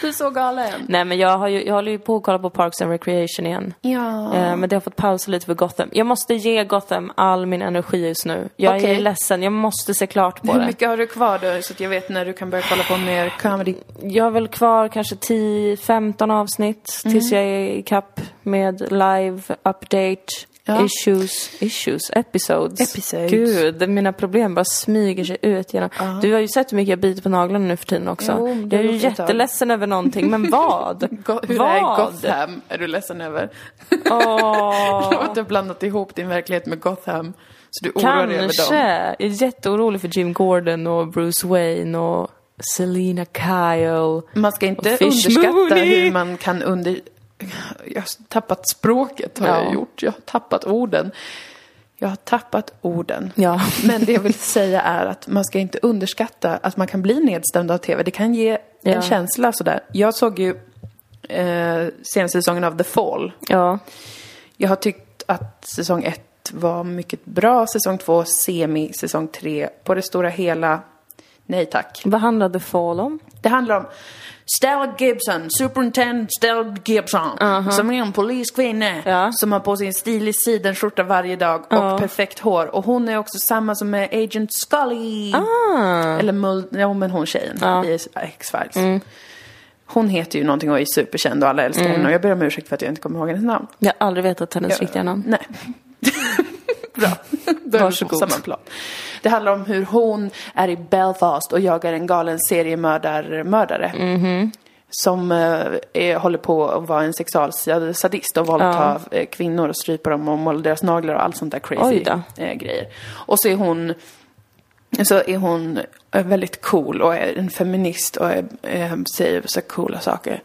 [SPEAKER 1] Du är så galen.
[SPEAKER 2] Nej men jag, har ju, jag håller ju på att kolla på Parks and Recreation igen.
[SPEAKER 1] Ja.
[SPEAKER 2] Eh, Men det har fått pausa lite för Gotham. Jag måste ge Gotham all min energi just nu. Jag är
[SPEAKER 1] Okej.
[SPEAKER 2] ledsen, jag måste se klart på
[SPEAKER 1] Hur
[SPEAKER 2] det.
[SPEAKER 1] mycket har du kvar då så att jag vet när du kan börja kolla på mer comedy?
[SPEAKER 2] Jag har väl kvar kanske 10-15 avsnitt
[SPEAKER 1] Mm.
[SPEAKER 2] tills jag är i kapp med live update.
[SPEAKER 1] Ja.
[SPEAKER 2] Issues, issues, episodes.
[SPEAKER 1] Episodes.
[SPEAKER 2] Gud, mina problem bara smyger sig ut genom... Du har ju sett hur mycket jag biter på naglarna nu för tiden också.
[SPEAKER 1] Jo, men det
[SPEAKER 2] jag är ju
[SPEAKER 1] låter ett tag.
[SPEAKER 2] jätteledsen över någonting, men vad?
[SPEAKER 1] Go- Hur
[SPEAKER 2] vad?
[SPEAKER 1] är Gotham? Är du ledsen över?
[SPEAKER 2] Åh.
[SPEAKER 1] Du har inte blandat ihop din verklighet med Gotham. Så du oroar dig över
[SPEAKER 2] Kanske.
[SPEAKER 1] dem.
[SPEAKER 2] Jag är jätteorolig för Jim Gordon och Bruce Wayne och Selena Kyle.
[SPEAKER 1] Man ska inte
[SPEAKER 2] Och Fish
[SPEAKER 1] underskatta
[SPEAKER 2] Mooney.
[SPEAKER 1] hur man kan under... Jag har tappat språket har
[SPEAKER 2] Ja.
[SPEAKER 1] jag gjort. Jag har tappat orden. Jag har tappat orden.
[SPEAKER 2] Ja.
[SPEAKER 1] Men det jag vill säga är att man ska inte underskatta att man kan bli nedstämd av tv. Det kan ge
[SPEAKER 2] Ja.
[SPEAKER 1] en känsla sådär. Jag såg ju eh, senaste säsongen av The Fall.
[SPEAKER 2] Ja.
[SPEAKER 1] Jag har tyckt att säsong ett var mycket bra. Säsong två semi. Säsong tre på det stora hela. Nej tack.
[SPEAKER 2] Vad handlade Fall om?
[SPEAKER 1] Det handlar om Stella Gibson, superintendent Stella Gibson, som är en poliskvinna
[SPEAKER 2] Ja.
[SPEAKER 1] som har på sig en stilig sidenskjorta varje dag och perfekt hår. Och hon är också samma som är Agent Scully. Eller Mul- ja, men hon tjejen i X-Files. Hon heter ju någonting och är superkänd och alla älskar henne och jag ber om ursäkt för att jag inte kommer ihåg hennes namn.
[SPEAKER 2] Jag har aldrig vetat hennes riktiga namn.
[SPEAKER 1] Nej. Bra. Då är vi på
[SPEAKER 2] Varsågod.
[SPEAKER 1] samma plan. Det handlar om hur hon är i Belfast och jagar en galen seriemördarmördare.
[SPEAKER 2] Mhm.
[SPEAKER 1] Som eh, är, håller på att vara en sexualsadist och våldta eh, kvinnor och strypa dem och måla deras naglar och allt sånt där
[SPEAKER 2] Oj
[SPEAKER 1] crazy
[SPEAKER 2] då.
[SPEAKER 1] eh, grejer. Och så är hon så är hon eh, väldigt cool och är en feminist och är, eh, säger så coola saker.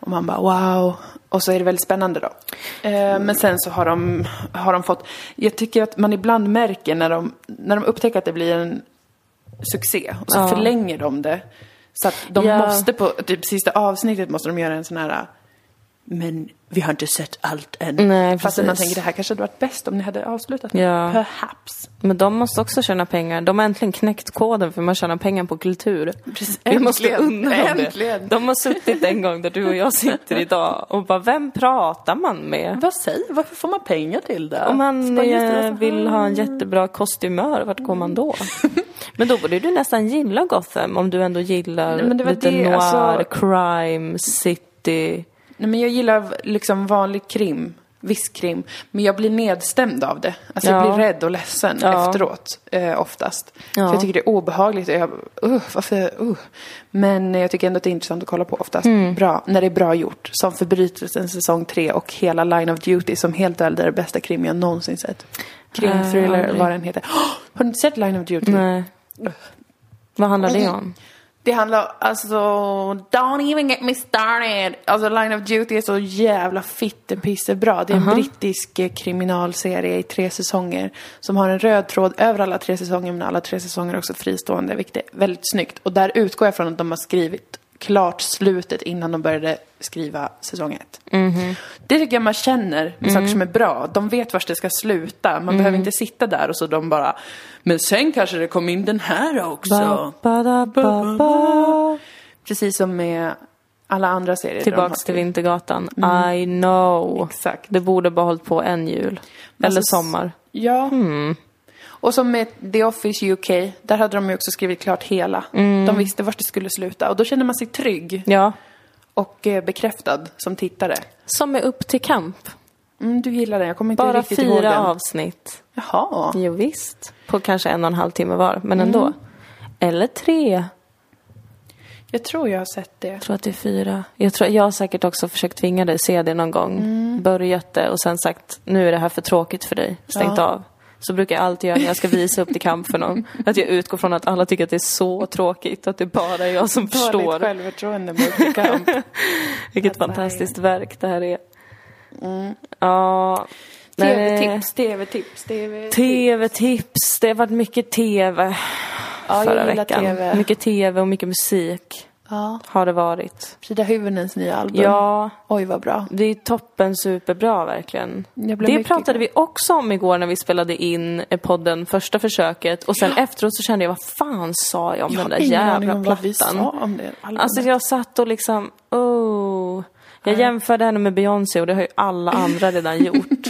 [SPEAKER 1] Och man bara wow. Och så är det väldigt spännande då. Eh, men sen så har de, har de fått, jag tycker att man ibland märker när de, när de upptäcker att det blir en succé och så
[SPEAKER 2] Ja.
[SPEAKER 1] förlänger de det. Så att de
[SPEAKER 2] Ja.
[SPEAKER 1] måste på, typ sista avsnittet måste de göra en sån här men vi har inte sett allt än.
[SPEAKER 2] Nej,
[SPEAKER 1] Fast man
[SPEAKER 2] precis.
[SPEAKER 1] tänker det här kanske hade varit bäst om ni hade avslutat
[SPEAKER 2] Ja.
[SPEAKER 1] Perhaps.
[SPEAKER 2] Men de måste också tjäna pengar. De har äntligen knäckt koden för man tjänar pengar på kultur.
[SPEAKER 1] Precis,
[SPEAKER 2] Vi måste
[SPEAKER 1] äntligen.
[SPEAKER 2] unna dem det.
[SPEAKER 1] Äntligen.
[SPEAKER 2] De har suttit en gång där du och jag sitter idag och bara, vem pratar man med?
[SPEAKER 1] Vad säger, varför får man pengar till det?
[SPEAKER 2] Om man
[SPEAKER 1] Så bara, just det,
[SPEAKER 2] eh,
[SPEAKER 1] alltså,
[SPEAKER 2] vill ha en jättebra kostymör, vart går man då? Men då borde du nästan gilla Gotham om du ändå gillar
[SPEAKER 1] Nej, men det var
[SPEAKER 2] lite
[SPEAKER 1] det,
[SPEAKER 2] noir,
[SPEAKER 1] alltså-
[SPEAKER 2] crime, city.
[SPEAKER 1] Nej, men jag gillar liksom vanlig krim, viss krim. Men jag blir nedstämd av det. Alltså
[SPEAKER 2] Ja.
[SPEAKER 1] jag blir rädd och ledsen
[SPEAKER 2] Ja.
[SPEAKER 1] efteråt, eh, oftast.
[SPEAKER 2] Ja.
[SPEAKER 1] För jag tycker det är obehagligt och jag, uh, varför, uh. Men jag tycker ändå att det är intressant att kolla på oftast.
[SPEAKER 2] Mm.
[SPEAKER 1] Bra, när det är bra gjort. Som Förbrytelsen säsong 3 och hela Line of Duty som helt ärligt är det bästa krim jag någonsin sett. Krimthriller,
[SPEAKER 2] Eh, aldrig.
[SPEAKER 1] vad den heter. har du inte sett Line of Duty?
[SPEAKER 2] Nej. Vad handlar
[SPEAKER 1] Alltså-
[SPEAKER 2] det om?
[SPEAKER 1] Det handlar alltså, don't even get me started. Alltså Line of Duty är så jävla fittepissebra. Det är en brittisk eh, kriminalserie i tre säsonger. Som har en röd tråd över alla tre säsonger, men alla tre säsonger är också fristående, vilket är väldigt snyggt. Och där utgår jag från att de har skrivit klart slutet innan de började skriva säsong ett. Det tycker jag man känner med saker som är bra. De vet vart det ska sluta. Man behöver inte sitta där och så de bara, men sen kanske det kom in den här också.
[SPEAKER 2] Ba, ba, da, ba, ba.
[SPEAKER 1] Precis som med alla andra serier.
[SPEAKER 2] Tillbaks till Mm. Vintergatan. I know.
[SPEAKER 1] Exakt.
[SPEAKER 2] Det borde bara hållit på en jul. Eller
[SPEAKER 1] Alltså,
[SPEAKER 2] sommar.
[SPEAKER 1] Ja.
[SPEAKER 2] Hmm.
[SPEAKER 1] Och som med The Office UK, där hade de ju också skrivit klart hela.
[SPEAKER 2] Mm.
[SPEAKER 1] De visste vart det skulle sluta och då känner man sig trygg
[SPEAKER 2] Ja.
[SPEAKER 1] och eh, bekräftad som tittare.
[SPEAKER 2] Som är upp till kamp.
[SPEAKER 1] Mm, du gillar den, jag kommer inte
[SPEAKER 2] Bara
[SPEAKER 1] riktigt ihåg den.
[SPEAKER 2] fyra avsnitt.
[SPEAKER 1] Jaha.
[SPEAKER 2] Jo, visst. På kanske en och en halv timme var, men ändå. Eller tre. Jag
[SPEAKER 1] Jag tror jag har sett det.
[SPEAKER 2] tror att det är fyra. Jag, tror, jag har säkert också försökt tvinga dig se det någon gång. Börjat det och sen sagt nu är det här för tråkigt för dig. Stängt
[SPEAKER 1] Ja.
[SPEAKER 2] av. Så brukar jag alltid göra när jag ska visa upp till kamp för någon. Att jag utgår från att alla tycker att det är så tråkigt. Att det bara är jag som
[SPEAKER 1] Dåligt
[SPEAKER 2] förstår.
[SPEAKER 1] självförtroende mot kamp.
[SPEAKER 2] Vilket
[SPEAKER 1] Alltså,
[SPEAKER 2] fantastiskt verk det här är.
[SPEAKER 1] Mm.
[SPEAKER 2] Ja. nej, det-
[SPEAKER 1] TV-tips, TV-tips, TV-tips.
[SPEAKER 2] TV-tips. Det har varit mycket TV
[SPEAKER 1] jag
[SPEAKER 2] förra
[SPEAKER 1] gillar
[SPEAKER 2] veckan.
[SPEAKER 1] TV.
[SPEAKER 2] Mycket TV och mycket musik
[SPEAKER 1] Ja.
[SPEAKER 2] har det varit.
[SPEAKER 1] Frida Hyvönens nya album.
[SPEAKER 2] Ja,
[SPEAKER 1] Oj, vad bra.
[SPEAKER 2] det är toppen superbra verkligen.
[SPEAKER 1] Jag blev
[SPEAKER 2] Det
[SPEAKER 1] mycket
[SPEAKER 2] pratade vi också om igår när vi spelade in eh, podden första försöket och sen efteråt så kände jag vad fan sa jag om
[SPEAKER 1] Jag
[SPEAKER 2] den där
[SPEAKER 1] har ingen aning
[SPEAKER 2] jävla
[SPEAKER 1] om vad vi sa
[SPEAKER 2] plattan?
[SPEAKER 1] om det albumet.
[SPEAKER 2] Alltså jag satt och liksom, oh. Jag jämförde henne med Beyoncé och det har ju alla andra redan gjort.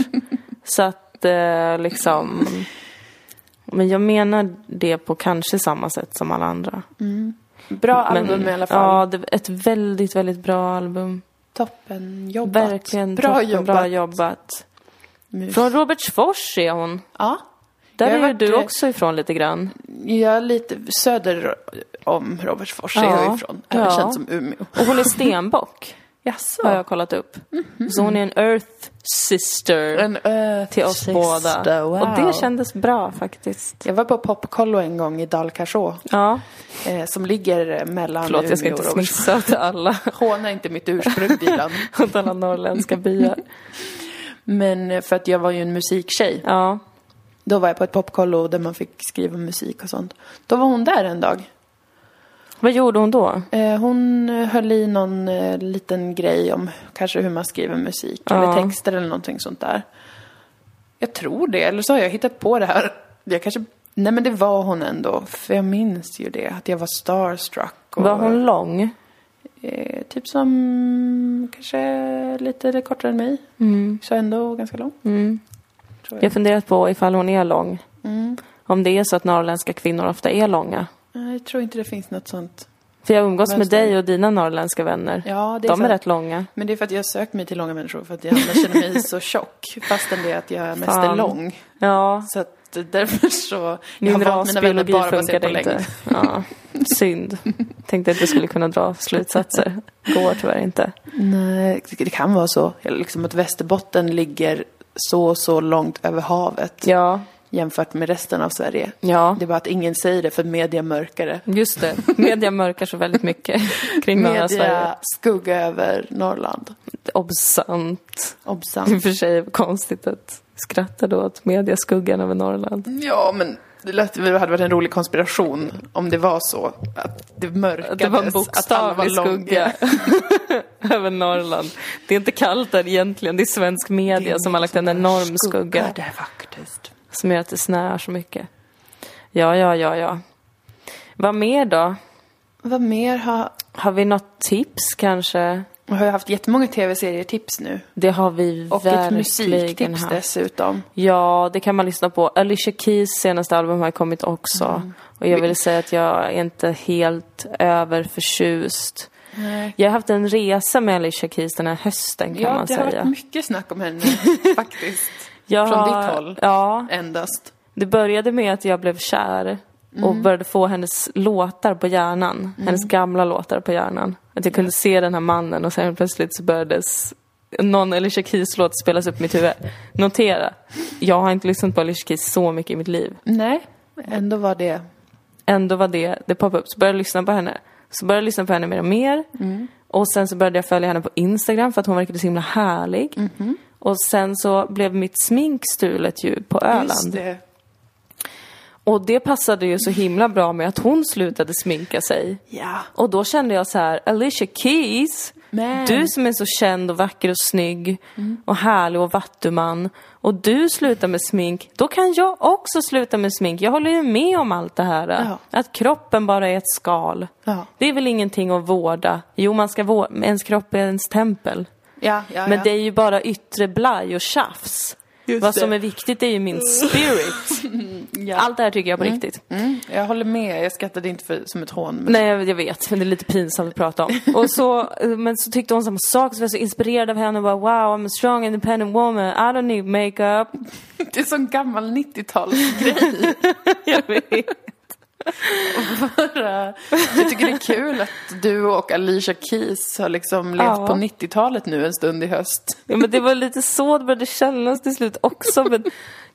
[SPEAKER 2] så att eh, liksom. Men jag menar det på kanske samma sätt som alla andra.
[SPEAKER 1] Mm. Bra
[SPEAKER 2] Mm. Men,
[SPEAKER 1] album i alla fall.
[SPEAKER 2] Ja, det, ett väldigt, väldigt bra album.
[SPEAKER 1] Toppen jobbat.
[SPEAKER 2] Verkligen
[SPEAKER 1] bra
[SPEAKER 2] toppen,
[SPEAKER 1] jobbat.
[SPEAKER 2] bra jobbat.
[SPEAKER 1] Mus.
[SPEAKER 2] Från Robertsfors är hon.
[SPEAKER 1] Ja.
[SPEAKER 2] Där
[SPEAKER 1] Jag har
[SPEAKER 2] är ju
[SPEAKER 1] varit,
[SPEAKER 2] du
[SPEAKER 1] eh,
[SPEAKER 2] också ifrån lite grann.
[SPEAKER 1] Jag är lite söder om Robertsfors är
[SPEAKER 2] Ja.
[SPEAKER 1] jag ifrån. Även
[SPEAKER 2] Ja.
[SPEAKER 1] känd som Umeå.
[SPEAKER 2] Och hon är stenbock,
[SPEAKER 1] Jaså?
[SPEAKER 2] har jag kollat upp. Så hon är en earth sister.
[SPEAKER 1] Mhm. En ö
[SPEAKER 2] till oss båda.
[SPEAKER 1] Wow.
[SPEAKER 2] Och det kändes bra faktiskt.
[SPEAKER 1] Jag var på Popkollo en gång i Dalkarså.
[SPEAKER 2] Ja,
[SPEAKER 1] Eh, som ligger mellan
[SPEAKER 2] förlåt
[SPEAKER 1] Umeå
[SPEAKER 2] jag ska
[SPEAKER 1] och
[SPEAKER 2] inte
[SPEAKER 1] Robertsfors.
[SPEAKER 2] smissa till alla,
[SPEAKER 1] Håna inte mitt ursprung, Dilan.
[SPEAKER 2] åt alla norrländska byar.
[SPEAKER 1] Men eh, för att jag var ju en musiktjej.
[SPEAKER 2] Ja,
[SPEAKER 1] Då var jag på ett popkollo där man fick skriva musik och sånt. Då var hon där en dag.
[SPEAKER 2] vad gjorde hon då?
[SPEAKER 1] Eh, Hon eh, höll i någon eh, liten grej om kanske hur man skriver musik
[SPEAKER 2] Ja.
[SPEAKER 1] eller texter eller någonting sånt där. Jag tror det, eller så har jag hittat på det här. Jag kanske... Nej men det var hon ändå, för jag minns ju det, att jag var starstruck. Och,
[SPEAKER 2] Var hon lång?
[SPEAKER 1] eh, typ som kanske lite kortare än mig. Så ändå ganska lång.
[SPEAKER 2] Jag har funderat på ifall hon är lång. Om det är så att norrländska kvinnor ofta är långa.
[SPEAKER 1] Mm. Nej, Jag tror inte det finns något sånt.
[SPEAKER 2] För jag umgås med
[SPEAKER 1] Mönster.
[SPEAKER 2] dig och dina norrländska vänner.
[SPEAKER 1] Ja, det är
[SPEAKER 2] De är
[SPEAKER 1] sant.
[SPEAKER 2] rätt långa.
[SPEAKER 1] Men det är för att jag har sökt mig till långa människor för att jag annars känner mig så tjock. Fastän det är att jag mest är
[SPEAKER 2] Fan.
[SPEAKER 1] lång.
[SPEAKER 2] Ja,
[SPEAKER 1] Så att därför så... jag
[SPEAKER 2] min
[SPEAKER 1] har valt mina vänner
[SPEAKER 2] rasbiologi
[SPEAKER 1] bara baserat på
[SPEAKER 2] funkade
[SPEAKER 1] längd.
[SPEAKER 2] inte. Ja, synd. Tänkte att du skulle kunna dra slutsatser. Går tyvärr inte.
[SPEAKER 1] Nej, det kan vara så. Eller Liksom att Västerbotten ligger så, så långt över havet
[SPEAKER 2] Ja,
[SPEAKER 1] jämfört med resten av Sverige.
[SPEAKER 2] ja.
[SPEAKER 1] Det är bara att ingen säger det för media mörkar det.
[SPEAKER 2] Just det, media mörkar så väldigt mycket kring norra Sverige.
[SPEAKER 1] Media skugga över Norrland.
[SPEAKER 2] Obsant. I och
[SPEAKER 1] Obsan.
[SPEAKER 2] för sig konstigt att skratta då åt mediaskuggan över Norrland.
[SPEAKER 1] Ja, men det lät, det hade varit en rolig konspiration om det var så. Att det mörkades.
[SPEAKER 2] Att det var en
[SPEAKER 1] att alla var
[SPEAKER 2] bokstavlig
[SPEAKER 1] långa.
[SPEAKER 2] skugga över Norrland. Det är inte kallt där egentligen, det är svensk media som har lagt en enorm skugga
[SPEAKER 1] där faktiskt.
[SPEAKER 2] som gör att det snöar så mycket. Ja, ja, ja, ja. Vad mer då?
[SPEAKER 1] Vad mer har...
[SPEAKER 2] Har vi något tips kanske?
[SPEAKER 1] Jag har ju haft jättemånga tv-serietips nu.
[SPEAKER 2] Det har vi
[SPEAKER 1] Och ett
[SPEAKER 2] verkligen
[SPEAKER 1] musiktips
[SPEAKER 2] haft.
[SPEAKER 1] dessutom.
[SPEAKER 2] Ja, det kan man lyssna på. Alicia Keys senaste album har
[SPEAKER 1] Mm.
[SPEAKER 2] kommit också. Och jag vill säga att jag är inte helt överförtjust.
[SPEAKER 1] Nej.
[SPEAKER 2] Jag har haft en resa med Alicia Keys den här hösten kan
[SPEAKER 1] ja,
[SPEAKER 2] man
[SPEAKER 1] det
[SPEAKER 2] säga.
[SPEAKER 1] har varit mycket snack om henne faktiskt.
[SPEAKER 2] Jag
[SPEAKER 1] från
[SPEAKER 2] har-
[SPEAKER 1] ditt håll.
[SPEAKER 2] Ja,
[SPEAKER 1] Endast.
[SPEAKER 2] Det började med att jag blev kär och
[SPEAKER 1] Mm.
[SPEAKER 2] började få hennes låtar på hjärnan. Hennes gamla låtar på hjärnan. Att jag kunde se den här mannen och sen plötsligt så började s- någon Alicia Keys låt spelas upp i mitt huvud. Notera, jag har inte lyssnat på Alicia Keys så mycket i mitt liv.
[SPEAKER 1] Nej, ändå var det.
[SPEAKER 2] Ändå var det, det poppade upp. Så började jag lyssna på henne. Så började jag lyssna på henne mer och mer.
[SPEAKER 1] Mm.
[SPEAKER 2] Och sen så började jag följa henne på Instagram för att hon verkade så himla härlig.
[SPEAKER 1] Mm-hmm.
[SPEAKER 2] Och sen så blev mitt smink stulet ju på
[SPEAKER 1] Just
[SPEAKER 2] Öland.
[SPEAKER 1] det.
[SPEAKER 2] Och det passade ju så himla bra med att hon slutade sminka sig.
[SPEAKER 1] Ja.
[SPEAKER 2] Och då kände jag så här, Alicia Keys,
[SPEAKER 1] Men- Mm.
[SPEAKER 2] du som är så känd och vacker och snygg och härlig och vattuman och du slutar med smink, då kan jag också sluta med smink. Jag håller ju med om allt det här.
[SPEAKER 1] Ja.
[SPEAKER 2] Att kroppen bara är ett skal.
[SPEAKER 1] Ja.
[SPEAKER 2] Det är väl ingenting att vårda. Jo, man ska vårda, ens kropp är ens tempel.
[SPEAKER 1] Ja, ja,
[SPEAKER 2] Men
[SPEAKER 1] ja.
[SPEAKER 2] det är ju bara yttre blaj och tjafs.
[SPEAKER 1] Just
[SPEAKER 2] Vad som
[SPEAKER 1] det.
[SPEAKER 2] är viktigt är ju min spirit.
[SPEAKER 1] ja.
[SPEAKER 2] Allt det här tycker jag på riktigt.
[SPEAKER 1] Mm, jag håller med, jag skrattade inte för, som ett hån. Men...
[SPEAKER 2] Nej, jag- jag vet. Men det är lite pinsamt att prata om. Och så, eh, men så tyckte hon samma sak, så var jag så inspirerad av henne och bara wow, I'm a strong independent woman, I don't need makeup.
[SPEAKER 1] Det är sån gammal 90-talsgrej.
[SPEAKER 2] Jag vet.
[SPEAKER 1] Jag tycker det är kul att du och Alicia Keys har liksom levt
[SPEAKER 2] Ja.
[SPEAKER 1] på 90-talet nu en stund i höst.
[SPEAKER 2] Ja, men det var lite så det började kännas till slut också. Men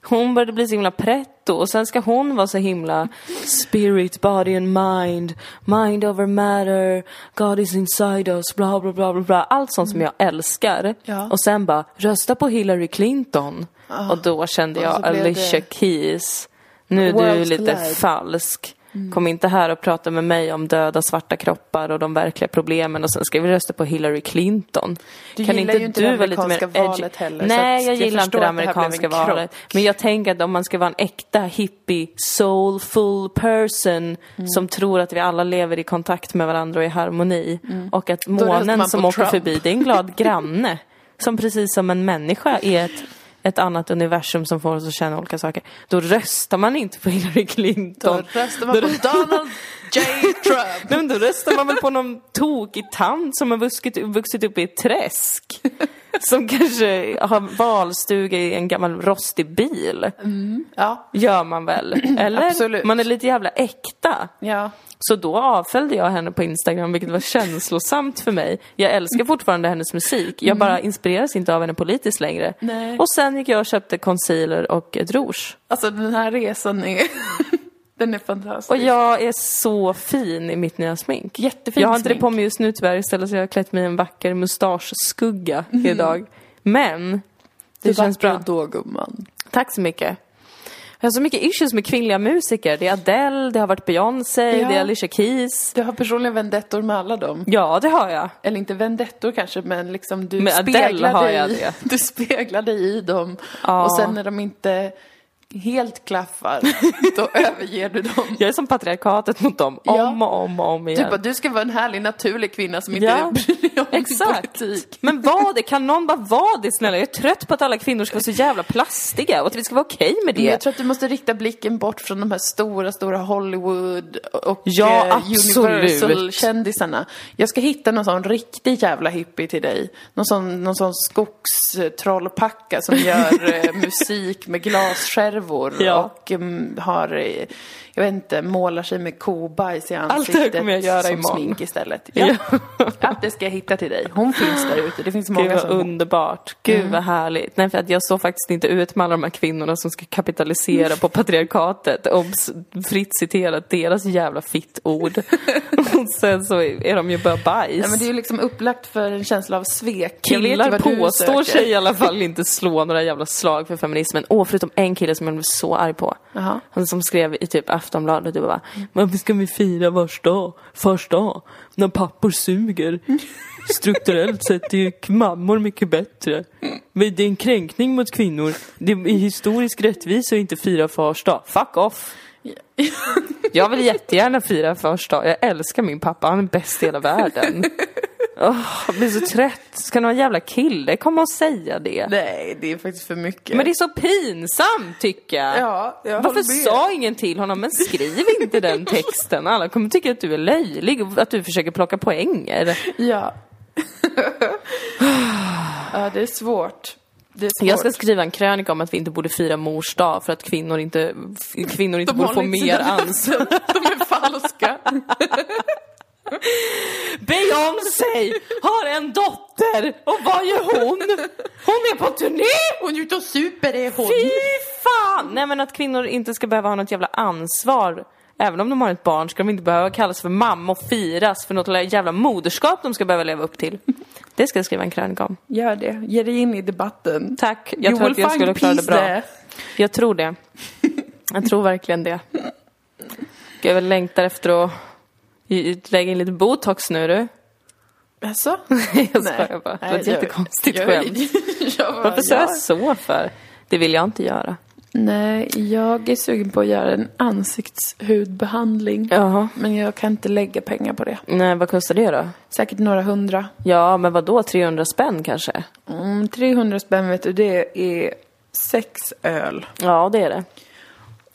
[SPEAKER 2] hon började bli så himla pretto och sen ska hon vara så himla spirit, body and mind, mind over matter, God is inside us, bla bla bla bla bla. Allt sånt som jag älskar.
[SPEAKER 1] Mm. Ja. Ah.
[SPEAKER 2] Och sen bara, rösta på Hillary Clinton. Och då kände
[SPEAKER 1] och så
[SPEAKER 2] jag
[SPEAKER 1] blev det-
[SPEAKER 2] Alicia Keys, nu är du
[SPEAKER 1] Worlds
[SPEAKER 2] lite
[SPEAKER 1] collide. Mm.
[SPEAKER 2] falsk. Kom inte här och prata med mig om döda svarta kroppar och de verkliga problemen och sen ska vi rösta på Hillary Clinton.
[SPEAKER 1] Du
[SPEAKER 2] kan
[SPEAKER 1] gillar
[SPEAKER 2] inte
[SPEAKER 1] ju inte
[SPEAKER 2] du
[SPEAKER 1] det
[SPEAKER 2] vara lite mer
[SPEAKER 1] amerikanska
[SPEAKER 2] edgy?
[SPEAKER 1] valet heller, så
[SPEAKER 2] Nej,
[SPEAKER 1] att
[SPEAKER 2] jag
[SPEAKER 1] jag
[SPEAKER 2] gillar inte
[SPEAKER 1] förstår
[SPEAKER 2] det
[SPEAKER 1] att det här blev
[SPEAKER 2] amerikanska
[SPEAKER 1] en krock.
[SPEAKER 2] valet. Men jag tänker att om man ska vara en äkta hippie, soulful person
[SPEAKER 1] Mm.
[SPEAKER 2] som tror att vi alla lever i kontakt med varandra och i harmoni och att
[SPEAKER 1] röstar Mm. man
[SPEAKER 2] månen
[SPEAKER 1] på
[SPEAKER 2] som åker
[SPEAKER 1] Trump.
[SPEAKER 2] förbi, det är en glad granne som precis som en människa är ett ett annat universum som får oss att känna olika saker. Då röstar man inte på Hillary
[SPEAKER 1] Då
[SPEAKER 2] Clinton.
[SPEAKER 1] röstar man på Donald J. Trump.
[SPEAKER 2] Nej men då röstar man väl på någon tokig tant som har vuxit, vuxit upp i ett träsk. Som kanske har valstuga i en gammal rostig bil.
[SPEAKER 1] Ja,
[SPEAKER 2] Gör man väl? Eller?
[SPEAKER 1] Absolut.
[SPEAKER 2] Man är lite jävla äkta.
[SPEAKER 1] ja.
[SPEAKER 2] Så då avföljde jag henne på Instagram vilket var känslosamt för mig. Jag älskar fortfarande hennes musik. Jag bara inspireras inte av henne politiskt längre.
[SPEAKER 1] Mm. Nej.
[SPEAKER 2] Och sen gick jag och köpte concealer och ett rouge.
[SPEAKER 1] Alltså den här resan är... den är fantastisk.
[SPEAKER 2] Och jag är så fin i mitt nya smink.
[SPEAKER 1] Jättefin
[SPEAKER 2] Jag har inte det
[SPEAKER 1] smink.
[SPEAKER 2] på mig just nu tyvärr istället så jag har klätt mig i en vacker mustaschskugga
[SPEAKER 1] Mm.
[SPEAKER 2] idag. Men det känns bra.
[SPEAKER 1] då gumman.
[SPEAKER 2] Tack så mycket. Jag har så mycket issues med kvinnliga musiker. Det är Adele, det har varit Beyoncé,
[SPEAKER 1] Ja.
[SPEAKER 2] det är Alicia Keys.
[SPEAKER 1] Du har personliga vendettor med alla dem.
[SPEAKER 2] Ja, det har jag.
[SPEAKER 1] Eller inte vendettor kanske, men liksom du
[SPEAKER 2] Med Adele
[SPEAKER 1] speglar
[SPEAKER 2] har
[SPEAKER 1] dig,
[SPEAKER 2] jag det.
[SPEAKER 1] Du speglar dig i dem.
[SPEAKER 2] Ja.
[SPEAKER 1] Och sen när de inte helt klaffar, då överger du dem.
[SPEAKER 2] Jag är som patriarkatet mot dem om
[SPEAKER 1] Ja.
[SPEAKER 2] och om och om igen.
[SPEAKER 1] Typ att du ska vara en härlig, naturlig kvinna som inte
[SPEAKER 2] Ja,
[SPEAKER 1] bryr dig om
[SPEAKER 2] exakt.
[SPEAKER 1] politik.
[SPEAKER 2] Men vad det? Kan någon bara vara det snälla? Jag är trött på att alla kvinnor ska vara så jävla plastiga och att vi ska vara okej med
[SPEAKER 1] Men
[SPEAKER 2] det.
[SPEAKER 1] Jag tror att du måste rikta blicken bort från de här stora, stora Hollywood och
[SPEAKER 2] Ja,
[SPEAKER 1] eh,
[SPEAKER 2] absolut.
[SPEAKER 1] Universal-kändisarna. Jag ska hitta någon sån riktig jävla hippie till dig. Någon sån, någon sån skogstrallpacka som gör eh, musik med glasskärvor
[SPEAKER 2] Ja.
[SPEAKER 1] och mm, har, eh, jag vet inte, målar sig med kobajs i
[SPEAKER 2] Allt det här
[SPEAKER 1] ansiktet
[SPEAKER 2] kommer jag göra
[SPEAKER 1] som
[SPEAKER 2] imorgon.
[SPEAKER 1] smink istället. Ja. Allt det ska jag hitta till dig. Hon finns där ute. Det finns
[SPEAKER 2] Gud
[SPEAKER 1] många
[SPEAKER 2] vad
[SPEAKER 1] som...
[SPEAKER 2] underbart. Gud vad härligt. Nej för att jag står faktiskt inte ut med alla de här kvinnorna som ska kapitalisera på patriarkatet. Obs! Fritt citerat deras jävla fittord. och sen så är de ju bara bajs.
[SPEAKER 1] Ja, men det är ju liksom upplagt för en känsla av svek. Jag vet ju
[SPEAKER 2] Killar
[SPEAKER 1] vad du
[SPEAKER 2] påstår
[SPEAKER 1] söker.
[SPEAKER 2] sig i alla fall inte slå några jävla slag för feminismen. Åh, förutom en kille som jag blev så arg på.
[SPEAKER 1] Jaha.
[SPEAKER 2] Han som skrev i typ Aftonbladet, du bara Varför ska vi fira vars dag, fars dag, när pappor suger? Strukturellt sett är ju k- mammor mycket bättre. Men det är en kränkning mot kvinnor. Det är historisk rättvisa att inte fira fars dag. Fuck off! Jag vill jättegärna fira fars dag. Jag älskar min pappa, han är bäst i hela världen. Åh, jag blir så trött. Ska någon jävla kille komma och säga det?
[SPEAKER 1] Nej, det är faktiskt för mycket.
[SPEAKER 2] Men det är så pinsamt tycker jag.
[SPEAKER 1] Ja, jag
[SPEAKER 2] Varför
[SPEAKER 1] håller med.
[SPEAKER 2] sa ingen till honom, men skriv inte den texten. Alla kommer tycka att du är löjlig och att du försöker plocka poänger.
[SPEAKER 1] Ja. ja, det är svårt. Det är svårt.
[SPEAKER 2] Jag ska skriva en krönika om att vi inte borde fira mors dag för att kvinnor inte, f- kvinnor inte borde få
[SPEAKER 1] håller inte
[SPEAKER 2] mer
[SPEAKER 1] sina
[SPEAKER 2] ans.
[SPEAKER 1] De är falska.
[SPEAKER 2] Beyoncé har en dotter och vad gör hon? Hon är på turné!
[SPEAKER 1] Hon är ute och super, det är hon.
[SPEAKER 2] Fy fan! Nej men att kvinnor inte ska behöva ha något jävla ansvar. Även om de har ett barn ska de inte behöva kallas för mamma och firas för något jävla moderskap de ska behöva leva upp till. Det ska jag skriva en krönika om.
[SPEAKER 1] Gör det. Ge dig in i debatten.
[SPEAKER 2] Tack, jag
[SPEAKER 1] You
[SPEAKER 2] tror
[SPEAKER 1] will
[SPEAKER 2] att jag
[SPEAKER 1] find
[SPEAKER 2] skulle klara det
[SPEAKER 1] peace
[SPEAKER 2] bra.
[SPEAKER 1] there.
[SPEAKER 2] Jag tror det. Jag tror verkligen det. Gud, jag längtar efter att i- i- lägga in lite botox nu du.
[SPEAKER 1] Alltså?
[SPEAKER 2] Jag skojar bara. Det var ett jättekonstigt skämt. Varför
[SPEAKER 1] Varför
[SPEAKER 2] sa jag så för? Det vill jag inte göra.
[SPEAKER 1] Nej, jag är sugen på att göra en ansiktshudbehandling.
[SPEAKER 2] Jaha.
[SPEAKER 1] Men jag kan inte lägga pengar på det.
[SPEAKER 2] Nej, vad kostar det då?
[SPEAKER 1] Säkert några hundra.
[SPEAKER 2] Ja, men vad då 300 spänn kanske?
[SPEAKER 1] Mm, 300 spänn vet du, det är sex öl.
[SPEAKER 2] Ja, det är det.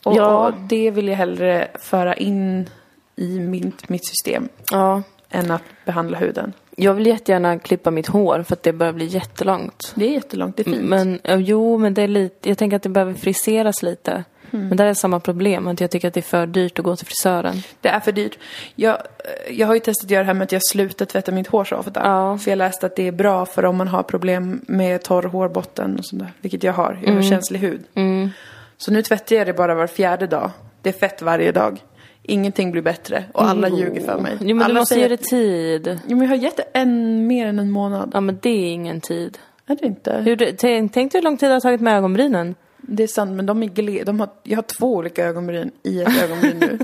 [SPEAKER 1] Och
[SPEAKER 2] Ja.
[SPEAKER 1] det vill jag hellre föra in i min, mitt system
[SPEAKER 2] Ja.
[SPEAKER 1] än att behandla huden.
[SPEAKER 2] Jag vill jättegärna klippa mitt hår för att det börjar bli jättelångt.
[SPEAKER 1] Det är jättelångt, det är fint.
[SPEAKER 2] Men eh, jo, men det är lite, jag tänker att det behöver friseras lite.
[SPEAKER 1] Hmm.
[SPEAKER 2] Men där är samma problem, att jag tycker att det är för dyrt att gå till frisören.
[SPEAKER 1] Det är för dyrt. Jag, jag har ju testat att göra det här med att jag slutar tvätta mitt hår så ofta.
[SPEAKER 2] Ja.
[SPEAKER 1] För jag läste att det är bra för om man har problem med torr hårbotten och sånt där. Vilket jag har, jag
[SPEAKER 2] Mm.
[SPEAKER 1] har känslig hud. Så nu tvättar jag det bara var fjärde dag. Det är fett varje dag. Ingenting blir bättre och alla ljuger för mig.
[SPEAKER 2] Jo, men
[SPEAKER 1] alla
[SPEAKER 2] du måste
[SPEAKER 1] säger-
[SPEAKER 2] ge det tid.
[SPEAKER 1] Jo, men jag har gett det en, mer än en månad.
[SPEAKER 2] Ja, men det är ingen tid.
[SPEAKER 1] Är det inte?
[SPEAKER 2] Hur, det- tänk, tänk dig hur lång tid det har tagit med ögonbrynen.
[SPEAKER 1] Det är sant, men de är gle... de har... Jag har två olika ögonbryn i ett ögonbryn nu.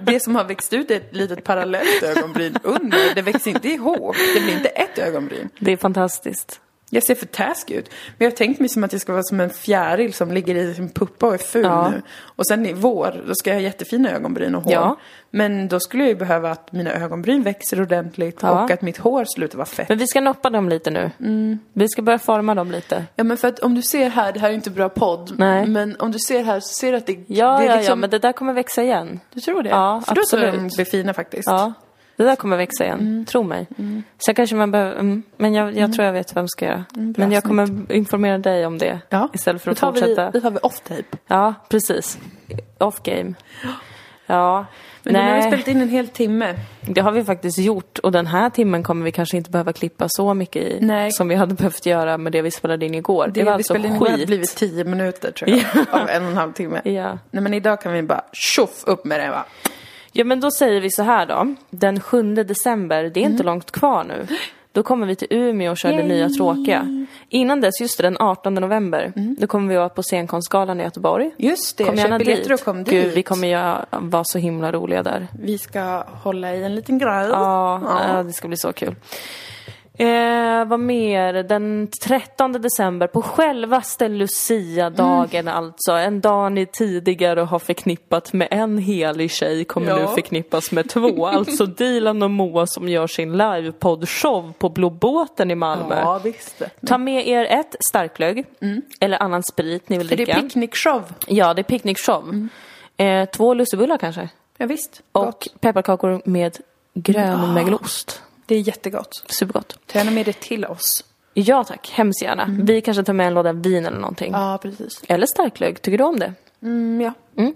[SPEAKER 1] Det som har växt ut är ett litet parallellt ögonbryn under. Det växer inte ihop. Det blir inte ett ögonbryn.
[SPEAKER 2] Det är fantastiskt.
[SPEAKER 1] Jag ser för taskig ut. Men jag har tänkt mig som att jag ska vara som en fjäril som ligger i sin puppa och är ful
[SPEAKER 2] Ja.
[SPEAKER 1] nu. Och sen i vår, då ska jag ha jättefina ögonbryn och hår.
[SPEAKER 2] Ja.
[SPEAKER 1] Men då skulle jag ju behöva att mina ögonbryn växer ordentligt
[SPEAKER 2] Ja.
[SPEAKER 1] och att mitt hår slutar vara fett.
[SPEAKER 2] Men vi ska noppa dem lite nu.
[SPEAKER 1] Mm.
[SPEAKER 2] Vi ska börja forma dem lite.
[SPEAKER 1] Ja men för att om du ser här, det här är ju inte bra podd.
[SPEAKER 2] Nej.
[SPEAKER 1] Men om du ser här så ser du att det,
[SPEAKER 2] Ja,
[SPEAKER 1] det liksom-
[SPEAKER 2] ja, ja, men det där kommer växa igen.
[SPEAKER 1] Du tror det?
[SPEAKER 2] Ja,
[SPEAKER 1] För då tror jag de
[SPEAKER 2] absolut.
[SPEAKER 1] blir fina faktiskt.
[SPEAKER 2] Ja, det där kommer växa igen.
[SPEAKER 1] Mm.
[SPEAKER 2] Tro mig. Sen kanske man behöver, mm, men jag, jag tror jag vet vad jag ska göra. men jag kommer informera dig om det
[SPEAKER 1] Mm, Ja.
[SPEAKER 2] istället för
[SPEAKER 1] Då
[SPEAKER 2] att
[SPEAKER 1] tar
[SPEAKER 2] fortsätta.
[SPEAKER 1] Vi, då tar vi off-tape.
[SPEAKER 2] Ja, precis. Off game. Ja,
[SPEAKER 1] Men nu har vi
[SPEAKER 2] nej,
[SPEAKER 1] spelat in en hel timme.
[SPEAKER 2] det har vi faktiskt gjort och den här timmen kommer vi kanske inte behöva klippa så mycket i
[SPEAKER 1] Nej.
[SPEAKER 2] som vi hade behövt göra med det vi spelade in igår. Det,
[SPEAKER 1] Det,
[SPEAKER 2] var
[SPEAKER 1] vi
[SPEAKER 2] alltså
[SPEAKER 1] spelade in nu har det
[SPEAKER 2] skit.
[SPEAKER 1] blivit tio minuter tror jag. av en och en halv timme.
[SPEAKER 2] Ja.
[SPEAKER 1] Nej men idag kan vi bara tjoff upp med det va.
[SPEAKER 2] Ja, men då säger vi så här då. Den 7 december, det är inte
[SPEAKER 1] Mm.
[SPEAKER 2] långt kvar nu. Då kommer vi till Umeå och kör det nya tråkiga. Innan dess, just det, den 18 november,
[SPEAKER 1] Mm.
[SPEAKER 2] då kommer vi vara på scenkonstgalan i Göteborg.
[SPEAKER 1] Just det,
[SPEAKER 2] Kom gärna
[SPEAKER 1] köp biljetter
[SPEAKER 2] dit.
[SPEAKER 1] och kom dit.
[SPEAKER 2] Gud, vi kommer göra, vara så himla roliga där.
[SPEAKER 1] Vi ska hålla i en liten grej.
[SPEAKER 2] Ja, ja. det ska bli så kul. Eh, vad mer? Den 13 december, på självaste Lucia-dagen
[SPEAKER 1] Mm.
[SPEAKER 2] alltså. En dag ni tidigare har förknippat med en helig tjej kommer
[SPEAKER 1] Ja.
[SPEAKER 2] nu förknippas med två. Alltså Dilan och Moa som gör sin live-poddshow på Blåbåten i Malmö.
[SPEAKER 1] ja visst. För
[SPEAKER 2] Ta med er ett starklögg eller annan sprit ni vill
[SPEAKER 1] det är Mm.
[SPEAKER 2] dricka.
[SPEAKER 1] picknickshow.
[SPEAKER 2] ja, det är picknickshow. Eh, två lussebullar kanske.
[SPEAKER 1] Ja, visst.
[SPEAKER 2] Och
[SPEAKER 1] Gott.
[SPEAKER 2] pepparkakor med grönmögelost.
[SPEAKER 1] Det är jättegott.
[SPEAKER 2] Supergott.
[SPEAKER 1] Ta gärna med det till oss.
[SPEAKER 2] Ja tack, hemskt gärna. Vi kanske tar med en låda vin eller någonting.
[SPEAKER 1] Mm. Ja, precis.
[SPEAKER 2] Eller starklögg, tycker du om det?
[SPEAKER 1] Mm, ja.
[SPEAKER 2] Mm.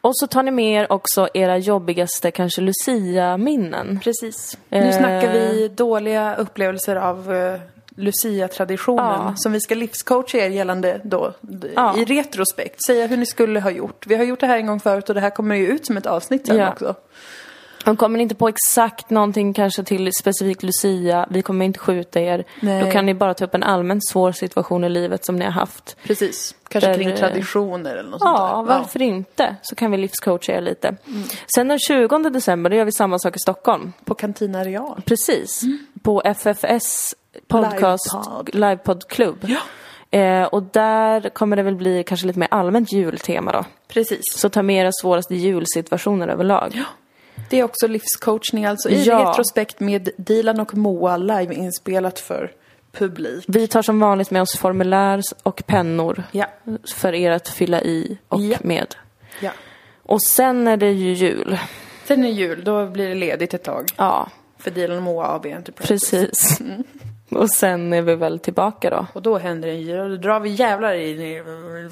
[SPEAKER 2] Och så tar ni med er också era jobbigaste, kanske Lucia-minnen.
[SPEAKER 1] Precis. Nu
[SPEAKER 2] Eh.
[SPEAKER 1] snackar vi dåliga upplevelser av eh, Lucia-traditionen
[SPEAKER 2] Ja.
[SPEAKER 1] som vi ska livscoacha er gällande då d-
[SPEAKER 2] Ja.
[SPEAKER 1] i retrospekt. Säga hur ni skulle ha gjort. Vi har gjort det här en gång förut och det här kommer ju ut som ett avsnitt sen
[SPEAKER 2] Ja.
[SPEAKER 1] också.
[SPEAKER 2] Och kommer ni inte på exakt någonting kanske till specifikt Lucia, vi kommer inte skjuta er.
[SPEAKER 1] Nej.
[SPEAKER 2] Då kan ni bara ta upp en allmänt svår situation i livet som ni har haft.
[SPEAKER 1] Precis. Kanske
[SPEAKER 2] Där,
[SPEAKER 1] kring
[SPEAKER 2] eh,
[SPEAKER 1] traditioner eller något sånt där.
[SPEAKER 2] Ja, varför inte? Så kan vi livscoacha er lite.
[SPEAKER 1] Mm.
[SPEAKER 2] Sen den 20 december, då gör vi samma sak i Stockholm.
[SPEAKER 1] På Cantina Real.
[SPEAKER 2] Precis.
[SPEAKER 1] Mm.
[SPEAKER 2] På FFS podcast,
[SPEAKER 1] Livepodd.
[SPEAKER 2] livepoddklubb. Eh, och där kommer det väl bli kanske lite mer allmänt jultema då.
[SPEAKER 1] Precis.
[SPEAKER 2] Så ta med era svåraste julsituationer överlag.
[SPEAKER 1] Det är också livscoachning alltså. I
[SPEAKER 2] Ja.
[SPEAKER 1] retrospekt med Dilan och Moa live inspelat för publik.
[SPEAKER 2] Vi tar som vanligt med oss formulär och pennor
[SPEAKER 1] Ja.
[SPEAKER 2] för er att fylla i och
[SPEAKER 1] Ja.
[SPEAKER 2] med.
[SPEAKER 1] ja.
[SPEAKER 2] Och sen är det ju jul.
[SPEAKER 1] Sen är jul, då blir det ledigt ett tag.
[SPEAKER 2] Ja,
[SPEAKER 1] För Dilan och Moa AB Enterprise.
[SPEAKER 2] precis. Och sen är vi väl tillbaka då.
[SPEAKER 1] Och då händer det en jul, då drar vi jävlar i... i-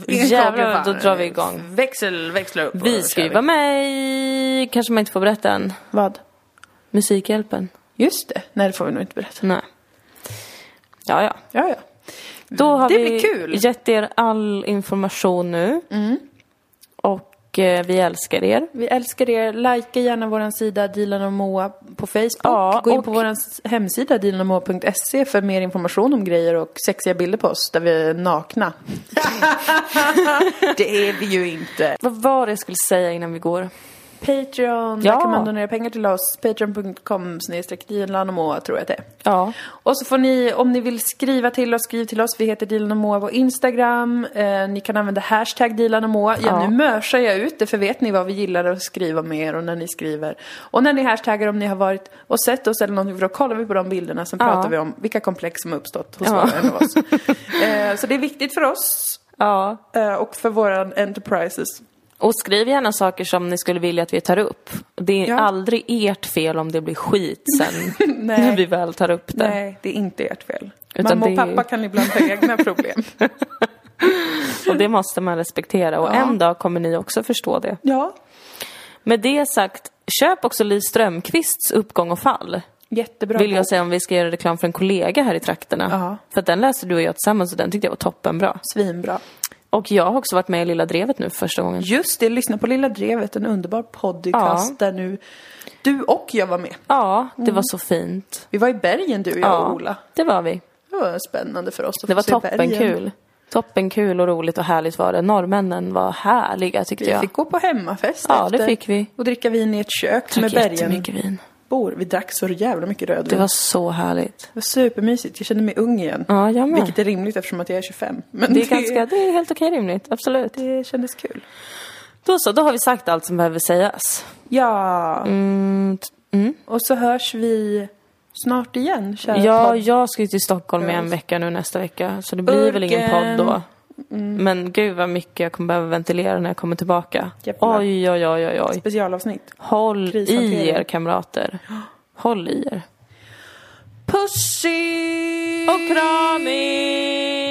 [SPEAKER 1] Eh,
[SPEAKER 2] Jävlar, då drar vi igång.
[SPEAKER 1] Växel, växla upp. och
[SPEAKER 2] Vi
[SPEAKER 1] kör
[SPEAKER 2] ska ju vara med i, kanske man inte får berätta än,
[SPEAKER 1] Vad?
[SPEAKER 2] Musikhjälpen.
[SPEAKER 1] Just det, nej det får vi nog inte berätta.
[SPEAKER 2] Nej. Ja, ja.
[SPEAKER 1] Ja, ja.
[SPEAKER 2] Då har
[SPEAKER 1] Det
[SPEAKER 2] vi
[SPEAKER 1] blir kul.
[SPEAKER 2] gett er all information nu. Och eh, vi älskar er.
[SPEAKER 1] Vi älskar er. Likea gärna vår sida Dilan och Moa på Facebook.
[SPEAKER 2] Ja,
[SPEAKER 1] Gå in
[SPEAKER 2] och-
[SPEAKER 1] på vår hemsida dilanomoa.se för mer information om grejer och sexiga bilder på oss där vi är nakna. det är vi ju inte.
[SPEAKER 2] Vad var det jag skulle säga innan vi går?
[SPEAKER 1] Patreon,
[SPEAKER 2] Ja.
[SPEAKER 1] där kan man donera pengar till oss. Patreon.com snedstreck Dilan och Moa tror jag det är.
[SPEAKER 2] Ja.
[SPEAKER 1] Och så får ni, om ni vill skriva till oss, skriv till oss. Vi heter Dilan och Moa på Instagram. Eh, ni kan använda hashtag Dilan och Moa. Ja,
[SPEAKER 2] Ja.
[SPEAKER 1] nu mörsar jag ut det, för vet ni vad vi gillar att skriva med er och när ni skriver. Och när ni hashtaggar om ni har varit och sett oss eller någonting, för då kollar vi på de bilderna. Sen
[SPEAKER 2] Ja.
[SPEAKER 1] pratar vi om vilka komplex som har uppstått hos
[SPEAKER 2] Ja.
[SPEAKER 1] var och en av oss. Eh, så det är viktigt för oss
[SPEAKER 2] ja.
[SPEAKER 1] eh, och för våran enterprises.
[SPEAKER 2] Och skriv gärna saker som ni skulle vilja att vi tar upp. Det är
[SPEAKER 1] Ja.
[SPEAKER 2] aldrig ert fel om det blir skit sen
[SPEAKER 1] Nej.
[SPEAKER 2] när vi väl tar upp det.
[SPEAKER 1] Nej, det är inte ert fel.
[SPEAKER 2] Utan
[SPEAKER 1] Mamma och
[SPEAKER 2] det är ju-
[SPEAKER 1] pappa kan ibland ha egna problem.
[SPEAKER 2] Och det måste man respektera och en dag kommer ni också förstå det.
[SPEAKER 1] ja,
[SPEAKER 2] Med det sagt, köp också Li Strömquists Uppgång och fall.
[SPEAKER 1] jättebra.
[SPEAKER 2] Vill jag
[SPEAKER 1] bok.
[SPEAKER 2] säga om vi ska göra reklam för en kollega här i trakterna.
[SPEAKER 1] Ja.
[SPEAKER 2] För att den läste du och jag tillsammans och den tyckte jag var toppenbra.
[SPEAKER 1] Svinbra.
[SPEAKER 2] Och jag har också varit med i Lilla Drevet nu för första gången.
[SPEAKER 1] Just det, lyssna på Lilla Drevet, en underbar podcast där nu du och jag var med.
[SPEAKER 2] Ja, det var så fint.
[SPEAKER 1] Vi var i bergen du, jag
[SPEAKER 2] Ja,
[SPEAKER 1] och Mm. Ola.
[SPEAKER 2] det var vi.
[SPEAKER 1] Det var spännande för oss att
[SPEAKER 2] Det var
[SPEAKER 1] få se bergen.
[SPEAKER 2] toppenkul. Toppenkul och roligt och härligt var det. Norrmännen var härliga tyckte
[SPEAKER 1] Vi
[SPEAKER 2] jag.
[SPEAKER 1] fick gå på hemmafest
[SPEAKER 2] Ja, det
[SPEAKER 1] efter
[SPEAKER 2] fick vi.
[SPEAKER 1] och dricka vin i ett kök
[SPEAKER 2] Drack
[SPEAKER 1] med bergen.
[SPEAKER 2] jättemycket vin.
[SPEAKER 1] Bor. Vi drack så jävla mycket rödvin.
[SPEAKER 2] Det var så härligt.
[SPEAKER 1] Det var supermysigt, jag kände mig ung igen.
[SPEAKER 2] Ja, jag med.
[SPEAKER 1] Vilket är rimligt eftersom att jag är 25. Men
[SPEAKER 2] Det är, ganska, det är helt okej rimligt, absolut.
[SPEAKER 1] det kändes kul.
[SPEAKER 2] Då så, då har vi sagt allt som behöver sägas.
[SPEAKER 1] Ja,
[SPEAKER 2] Mm, t- mm.
[SPEAKER 1] och så hörs vi snart igen, kära
[SPEAKER 2] Ja,
[SPEAKER 1] podd.
[SPEAKER 2] jag ska ju till Stockholm i en
[SPEAKER 1] Yes.
[SPEAKER 2] vecka nu nästa vecka, så det blir väl ingen
[SPEAKER 1] Urgen. Mm.
[SPEAKER 2] podd då. Men gud vad mycket jag kommer behöva ventilera när jag kommer tillbaka.
[SPEAKER 1] Jävlar.
[SPEAKER 2] Oj, oj, oj, oj, oj.
[SPEAKER 1] Specialavsnitt.
[SPEAKER 2] Håll i
[SPEAKER 1] Krishantering.
[SPEAKER 2] er kamrater. Håll i er.
[SPEAKER 1] Pussy!
[SPEAKER 2] Och kramis!